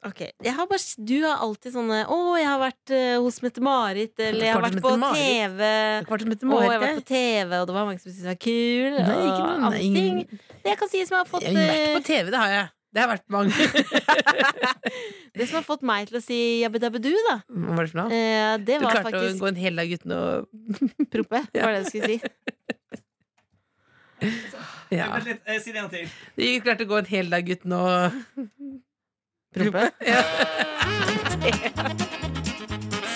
S3: Ok, jeg har bare, Du har alltid sånne 'Å, jeg har vært eh, hos Mette-Marit', eller 'Jeg har
S4: Klart
S3: vært
S4: det
S3: på
S4: Mette-Marit.
S3: TV'.
S4: Kvart som
S3: Og jeg har vært på TV, og det var mange som syntes det var kul.
S4: Nei,
S3: og
S4: ikke noe.
S3: andre
S4: Nei, ingen-
S3: ting. Det jeg kan si som har fått,
S4: Jeg har vært på
S3: eh,
S4: TV, det har jeg. Det har vært mange.
S3: det som har fått meg til å si jabbedabbedoo, da,
S4: Hva var det for noe?
S3: eh, det
S4: Du
S3: var
S4: klarte å
S3: faktisk
S4: gå en hel dag uten å
S3: proppe. Var det du skulle si.
S4: ja.
S8: Vent litt, eh, si det en gang til.
S4: Du klarte å gå en hel dag uten å
S3: Proppe.
S4: ja.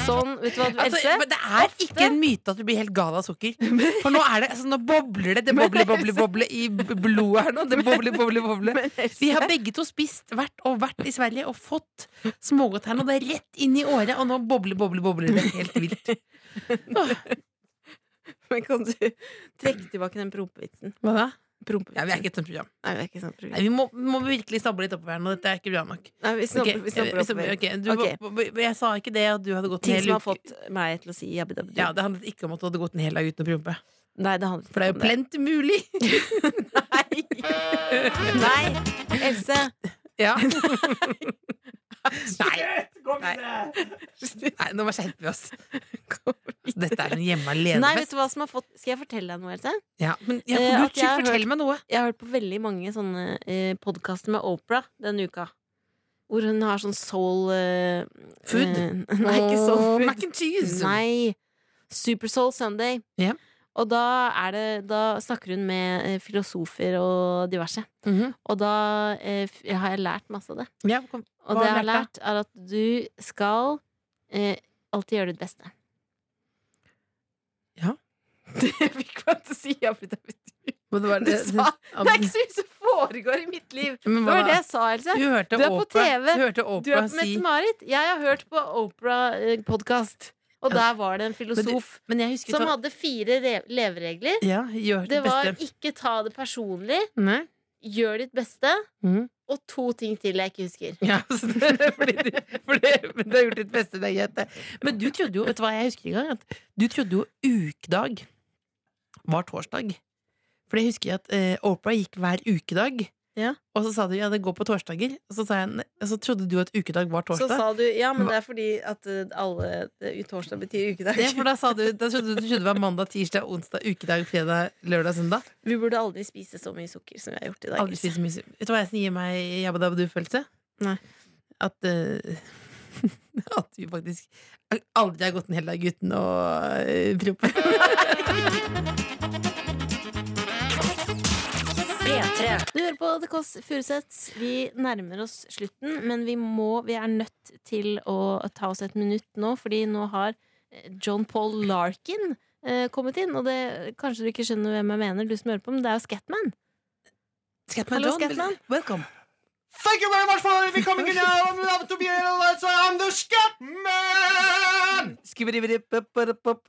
S3: Sånn, vet du hva,
S4: altså,
S3: Else?
S4: men Det er ikke en myte at du blir helt gal av sukker. For nå er det altså, Nå bobler det. Det bobler, bobler, bobler i b- blodet her nå. Det bobler, bobler, bobler. Vi har begge to spist hvert og vært i Sverige og fått smågodt her nå. Det er rett inn i året, og nå bobler, bobler, bobler det helt vilt.
S3: Men kan du trekke tilbake den prompevitsen?
S4: Hva da? Ja, vi er
S3: Prompevitsen.
S4: ikke et sånt program.
S3: Nei, vi er ikke sånn program.
S4: Nei, vi må, må virkelig stable litt oppover her nå. Dette er ikke bra nok.
S3: Nei, vi
S4: Ok,
S3: snobber vi snobber
S4: vi snobber-
S3: oppover.
S4: ok, du,
S3: Ok.
S4: b- b- Jeg sa ikke det at du hadde gått en
S3: Ting
S4: hel
S3: som har
S4: uke.
S3: fått meg til å si jabbedabbedoo.
S4: Ja, Det handlet ikke om at du hadde gått en hel dag uten å prompe.
S3: Nei, det handler
S4: For det er jo
S3: ikke om
S4: plenty mulig!
S3: det. Nei, Else.
S4: Ja. Nei,
S8: Gå videre!
S4: nei, nå skjerper vi oss. Dette er en hjemme alene
S3: Nei, vet du hva som har fått Skal jeg fortelle deg noe, Else?
S4: Ja, men ja,
S3: Eh,
S4: for
S3: at
S4: guds
S3: jeg har
S4: skyld, fortell meg noe.
S3: Jeg har hørt på veldig mange sånne eh, podkaster med Opera denne uka. Hvor hun har sånn soul eh,
S4: Food?
S3: eh, nei, ikke soul
S4: Åh,
S3: food.
S4: Mac and cheese.
S3: Nei. Super Soul Sunday.
S4: Ja.
S3: Og da, er det, da snakker hun med eh, filosofer og diverse.
S4: Mhm.
S3: Og da eh, f- har jeg lært masse av det.
S4: ja, kom.
S3: Og
S4: Hva
S3: det
S4: har
S3: jeg har
S4: du lært
S3: lært, er at du skal eh, alltid gjøre ditt beste.
S4: Ja.
S3: Det fikk meg til å si ja, for det betyr
S4: Men det var,
S3: Du sa-
S4: Ja,
S3: Det
S4: men-
S3: er ikke så mye som foregår i mitt liv.
S4: Men
S3: Det
S4: hva
S3: var
S4: da?
S3: det jeg sa, Else.
S4: Du hørte
S3: Du er på
S4: Oprah-
S3: TV.
S4: Du hørte
S3: Du er
S4: Oprah
S3: på
S4: si
S3: Mette-Marit. Jeg har hørt på Opera-podkast, og der var det en
S4: Men du-
S3: filosof
S4: Men jeg husker
S3: som
S4: at-
S3: hadde fire re- leveregler.
S4: Ja, gjør
S3: Det
S4: det
S3: var
S4: beste.
S3: ikke ta det personlig,
S4: Nei.
S3: gjør ditt beste,
S4: Mhm.
S3: og to ting til jeg ikke husker.
S4: Ja, så det, fordi du, fordi, men du har gjort ditt beste. Det er greit, det. Men du trodde jo Vet du hva jeg husker en gang? At du trodde jo ukedag var torsdag. For jeg husker at eh, Oprah gikk hver ukedag.
S3: Ja.
S4: Og så sa du ja, det går på torsdager. Og så, sa jeg, "Nei." Og så trodde du at ukedag var
S3: Så
S4: torsdag.
S3: sa du ja, men det er fordi at eh, alle det- torsdag betyr ukedag.
S4: det, for da, sa du, da trodde du du trodde det var mandag, tirsdag, onsdag, ukedag, fredag, lørdag, søndag.
S3: Vi burde aldri spise så mye sukker som vi har gjort i dag.
S4: Aldri
S3: Else.
S4: spise mye sukker. Vet du hva jeg som gir meg jabba-dabba-du-følelse?
S3: Nei.
S4: At eh, At vi faktisk aldri har gått ned av gutten og eh, proppen.
S5: P3.
S3: Du hører på The Kåss Furuseths. Vi nærmer oss slutten, men vi må Vi er nødt til å ta oss et minutt nå, fordi nå har eh, John Paul Larkin eh, kommet inn. Og det, kanskje du ikke skjønner hvem jeg mener, du som hører på, men det er jo Scatman.
S4: Scatman
S3: Hallo,
S4: John,
S3: Scatman.
S4: welcome.
S8: Thank you very much for me coming in now. I'm love to be here. Also, I'm the Scatman.
S4: Skibidi-bidi-bop-bop-bop.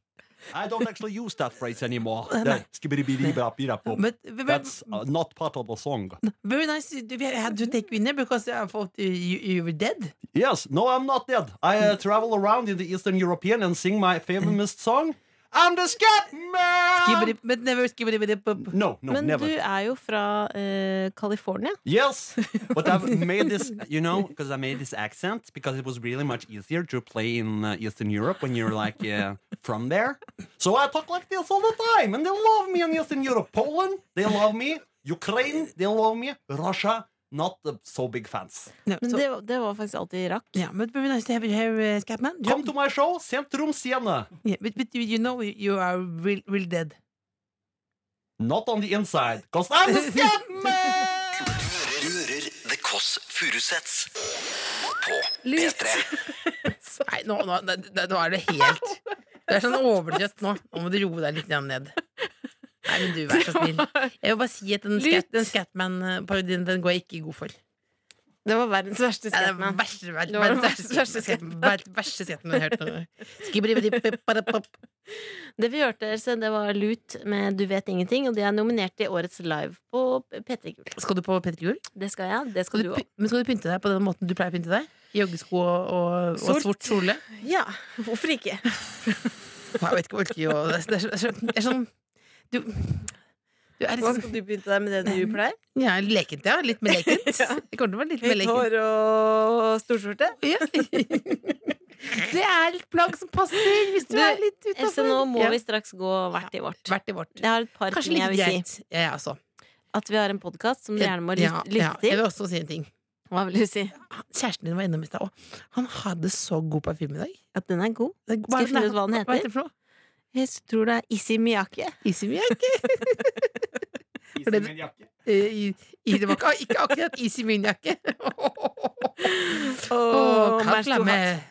S8: I don't actually use that phrase anymore.
S4: Uh, no.
S8: The skibidi-bidi-bidi-bidi-bop.
S4: But ve- ve-
S8: That's uh, not part of the song.
S4: very nice. We had to take you in there because I thought you, you were dead.
S8: Yes, no, I'm not dead. I uh, travel around in the Eastern European and sing my famous song. I'm the Scatman.
S4: Skibidi- But never skibidi-bidi-bop.
S8: No, no,
S3: men
S8: never.
S3: du er jo fra eh, California.
S8: Yes, but I've made this, you know, because I made this accent because it was really much easier to play in uh, Eastern Europe when you're like uh, from there. So I talk like this all the time, and they love me in Eastern Europe. Poland, they love me. Ukraine, they love me. Russia, not uh, so big fans.
S4: No,
S3: Men
S4: so-
S3: det, det var faktisk alltid Irak.
S4: Yeah, but very nice to have you here, uh, Scatman.
S8: Come to my show, Centrum Siena.
S4: Yeah, but, but you, you know you- you are real, real dead.
S8: Not on the inside, because I'm the Scatman!
S2: Du hører, du hører The Kåss Furuseths på
S3: Lurt.
S2: P3.
S4: Nei, nå, nå, det, det, nå er det helt Du er sånn overdrøtt nå. Nå må du roe deg litt grann ned. Nei, men du, vær så snill. Jeg vil bare si at den, scat, den Scatman-parodien Den går jeg ikke god for.
S3: Det var verdens verste
S4: Det er den
S3: Scatman.
S4: verste, ver-
S3: Det var den
S4: verdens
S3: verste
S4: verste Scatman verdens verste Scatman jeg har hørt. noe. Skibidi-bidi-bip-bada-pop.
S3: Det vi hørte, Else, det var Lut med Du vet ingenting, og de er nominert til Årets Live på P3 Gull.
S4: Skal du på Petter Gull?
S3: Det skal jeg. Det skal
S4: Skal du,
S3: du
S4: py-
S3: òg.
S4: men skal du pynte deg på den måten du pleier å pynte deg? Joggesko og, og,
S3: Sort.
S4: og sort kjole?
S3: Ja, hvorfor ikke?
S4: Nei, Jeg vet ikke, jeg orker jo det er, det, er, så- det er sånn Du, du er litt
S3: Hva
S4: sånn
S3: skal du begynne deg med det du pleier?
S4: ja, lekent, ja. Litt mer lekent. Det kommer til å være litt mer
S3: Høyt
S4: lekent.
S3: hår og storskjorte?
S4: Ja. Det er et plagg som passer hvis du,
S3: Du,
S4: er litt utenfor.
S3: Else, nå må
S4: Ja.
S3: vi straks gå hvert i vårt.
S4: Hvert i vårt.
S3: Jeg har et par
S4: Kanskje
S3: ting jeg
S4: like
S3: vil si.
S4: greit. Ja, jeg også.
S3: At vi har en podkast som du gjerne må lyt-
S4: Ja, ja.
S3: lytte
S4: Jeg
S3: til.
S4: vil også si en ting.
S3: Hva vil du si?
S4: Kjæresten din var innom i stad òg. Han hadde så god parfyme i dag.
S3: At den er god?
S4: Det er-
S3: Skal jeg
S4: er det-
S3: finne ut hva den
S4: Hva heter det for noe?
S3: Jeg tror det er Issey Miyake.
S4: Easy Miyake. Eh, i- i- Det var ikke ikke akkurat Easy Miyake.
S3: Og
S4: Åh,
S3: Mersto
S4: kakla med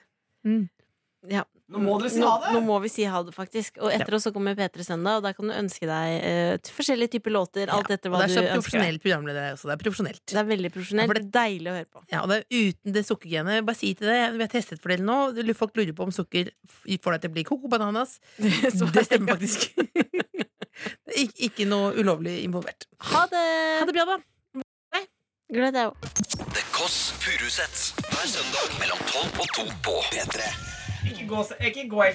S3: Ja.
S8: Nå må dere si
S3: nå,
S8: ha det.
S3: nå må vi si ha det, faktisk. Og etter oss så kommer P3 Søndag, og der kan du ønske deg eh, t- forskjellige typer låter. Alt
S4: Ja,
S3: etter
S4: og
S3: hva
S4: det
S3: du
S4: er så
S3: ønsker deg.
S4: profesjonelt programleder her også. Det er profesjonelt.
S3: Det er veldig
S4: Ja,
S3: profesjonelt.
S4: for
S3: Det er deilig å høre på.
S4: Ja, og det er uten det sukkergenet. Bare si til det. Vi har testet for dere nå. Du- Folk lurer på om sukker får deg til å bli koko bananas. Det stemmer faktisk. Det er Ik ikke noe ulovlig involvert.
S3: Ha det!
S4: Ha det bra, da.
S3: Gled deg òg.
S2: The Kåss Furuseths hver søndag mellom 12 og 2 på P3.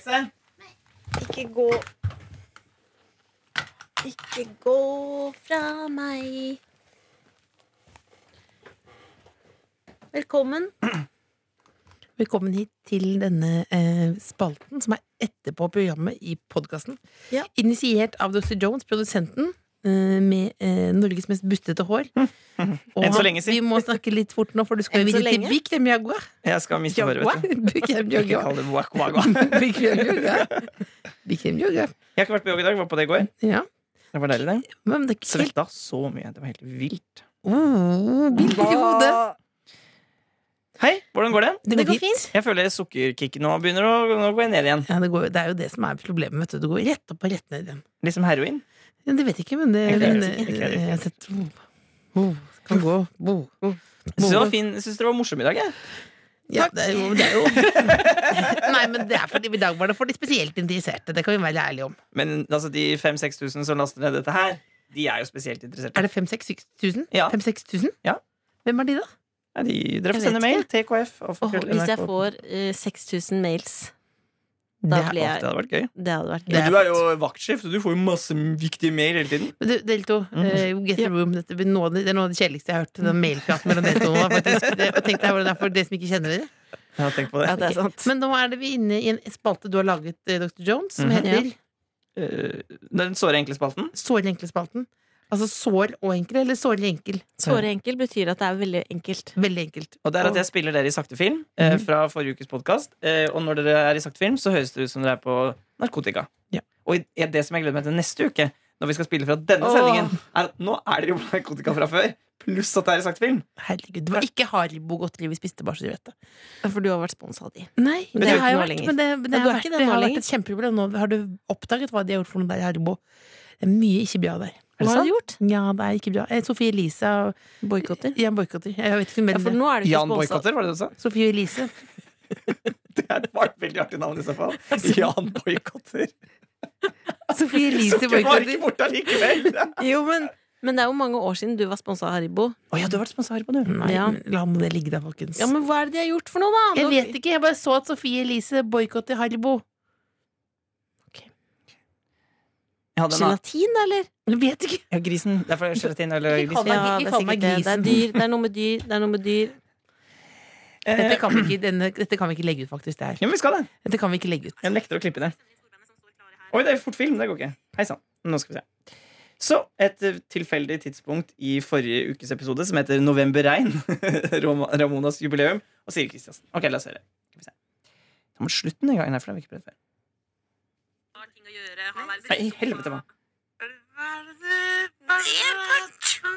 S3: Ikke gå Ikke gå fra meg. Velkommen.
S4: Velkommen hit til denne eh, spalten som er etterpå programmet i podkasten.
S3: Ja.
S4: Initiert av Dr. Jones, produsenten. eh, Med eh, Norges mest bustete hår. Og
S9: Enn så
S4: han-
S9: lenge siden.
S4: Vi må snakke litt fort nå, for du skal
S3: Enn
S4: jo
S3: så
S4: videre til
S3: lenge.
S4: Bikram Jaguar.
S9: Jeg skal miste håret, vet du.
S4: Bikram
S9: Ikke
S4: Jaguar.
S9: kall det wak wagwa.
S4: Bikram yoga. Bikram yoga.
S9: Jeg har ikke vært på jobb i dag. Var på det i går.
S4: Ja.
S9: Det var deilig, det.
S4: Men det er ikke helt
S9: Svetta så mye. Det var helt vilt.
S4: oh, bilder i hodet.
S9: Hei, hvordan går det?
S3: Det går fint.
S9: Jeg føler sukkerkicket nå begynner å nå går jeg ned igjen.
S4: Ja, det, går, det er jo det som er problemet. Vet du. Det går rett opp og rett ned igjen.
S9: Liksom heroin.
S4: Ja, det vet jeg ikke, men det,
S9: Jeg klarer
S4: men,
S9: ikke, jeg klarer
S4: eh,
S9: ikke.
S4: jeg har sett oh, Kan gå. Oh, oh.
S9: Jeg syns det var fin. Jeg synes dere var morsomme i dag, jeg.
S4: Ja, det er jo, det er jo. Nei, men det er fordi i dag var det for de spesielt interesserte. Det kan vi være ærlige om.
S9: Men altså, de 5000-6000 som laster ned dette her, de er jo spesielt interesserte.
S4: Er det 5000-6000?
S9: Ja. Ja.
S4: Hvem er de, da?
S9: Ja, de, dere
S3: Jeg
S9: får sende
S3: vet
S9: mail. TKF.
S3: Åh, hvis jeg får eh, 6000 mails, da
S4: Det er-
S3: blir
S9: Det
S3: jeg
S9: hadde vært gøy.
S3: Det hadde vært
S4: Det
S3: gøy.
S9: Men du er jo vaktsjef, så du får jo masse viktige mail hele tiden.
S4: Du, Del to, eh, Get a Room. Dette blir noe, av det det er noe av det kjedeligste jeg har hørt. Den mailpraten mellom dere to. nå, faktisk. Det- og Tenk deg hvordan det er for dere som ikke kjenner dere.
S9: Ja, tenk på det.
S3: Ja, det er sant.
S4: Men nå er det vi inne i en spalte du har laget, eh, Dr. Jones, som
S9: Mhm.
S4: heter
S9: Eh, Den såre enkle spalten.
S4: Såre enkle-spalten. Altså sår og enkel, eller såre enkel?
S3: Såre enkel betyr at det er veldig enkelt.
S4: Veldig enkelt.
S9: Og det er at jeg spiller dere i sakte film eh, fra forrige ukes podkast. Eh, og når dere er i sakte film, så høres det ut som dere er på narkotika.
S4: Ja.
S9: Og i- det som jeg gleder meg til neste uke, når vi skal spille fra denne
S3: Åh.
S9: sendingen, er at nå er dere jo på narkotika fra før. Pluss at det er i sakte film.
S4: Herregud, det var ikke Haribo godteri vi spiste, bare så du vet det.
S3: For du har vært sponsa av de.
S4: Nei,
S3: Men
S4: det,
S3: det er jo
S4: har
S3: ikke
S4: jo
S3: nå
S4: vært,
S3: lenger.
S4: men det, det,
S3: Ja, du
S4: har,
S3: er
S4: vært,
S3: ikke det
S4: det
S3: nå
S4: har vært
S3: lenger.
S4: et kjempeproblem. Nå har du oppdaget hva de har gjort for noe der i Haribo. Det er mye ikke bra der.
S3: Hva har de gjort?
S4: Ja, det er ikke bra. Eh, Sofie Elise har-
S3: Boikotter?
S4: Ja, boikotter. Jeg vet ikke, men
S3: Ja, for nå er du ikke
S9: Jan
S3: sponsa.
S9: Boikotter, var det det du sa?
S4: Sofie Elise.
S9: Det er- det var et veldig artig navn i så fall. Jan Boikotter.
S4: Sofie Elise
S9: Du var ikke
S4: boikotter.
S9: borte allikevel.
S3: Jo, men, men det er jo mange år siden du var sponsa av Haribo.
S9: Å ja, du har vært sponsa på, du.
S4: Nei,
S3: Ja.
S4: men la nå det ligge der, folkens.
S3: Ja, men hva er det de har gjort for noe, da?
S4: jeg vet ikke, jeg bare så at Sofie Elise boikotter Haribo.
S9: Jeg hadde en annen.
S3: Gelatin, da, eller?
S4: Jeg vet ikke.
S9: Ja, grisen. Det er for gelatin eller
S4: Ikke kall
S9: gris.
S4: meg- ikke
S3: det er
S4: kall meg
S3: sikkert det. Det er
S4: grisen.
S3: dyr. Det er noe med dyr. Det er noe med dyr.
S9: Eh,
S4: Dette kan vi ikke, denne, dette kan vi ikke legge ut, faktisk. Det her.
S9: Eh, ja, men vi skal det.
S4: Dette kan vi ikke legge ut.
S9: Jeg nekter å klippe det. Oi, det er fort film. Det går ikke. Hei sann. Nå skal vi se. Så et eh, tilfeldig tidspunkt i forrige ukes episode som heter Novemberregn. Ram- Ramonas jubileum og Siri Kristiansen. Ok, la oss høre. Skal vi se. Ta mot slutten en gang. Nei, for det har vi ikke prøvd før. Nei, i helvete, hva?
S3: liksom.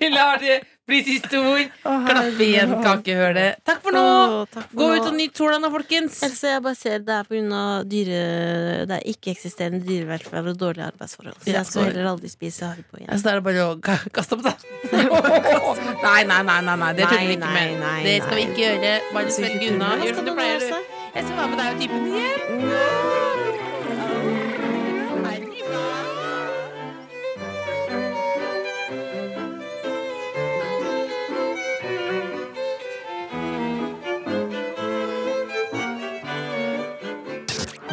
S4: Vi lar det bli siste ord. Klapp igjen kakehølet. Takk for nå!
S3: Åh, takk for
S4: Gå
S3: nå.
S4: ut og nyt sola nå, folkens.
S3: Else, jeg bare ser det er på grunn av dyre... Det er ikke-eksisterende dyrevelferd og dårlige arbeidsforhold. Så
S4: Ja,
S3: jeg skal
S4: sorry.
S3: heller aldri spise haribo igjen.
S4: Ja, Så da er det bare å ka- kaste opp, da. Nei, nei, nei, nei, nei det tuller vi
S3: Nei,
S4: ikke med.
S3: nei, nei,
S4: det skal vi
S3: nei.
S4: ikke gjøre. Bare svelg unna.
S3: Hva skal
S4: Gjør som du
S3: du nå,
S4: pleier.
S3: Else?
S4: du. Jeg skal være med deg og typen igjen.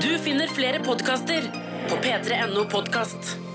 S5: Du finner flere podkaster på p3.no podkast.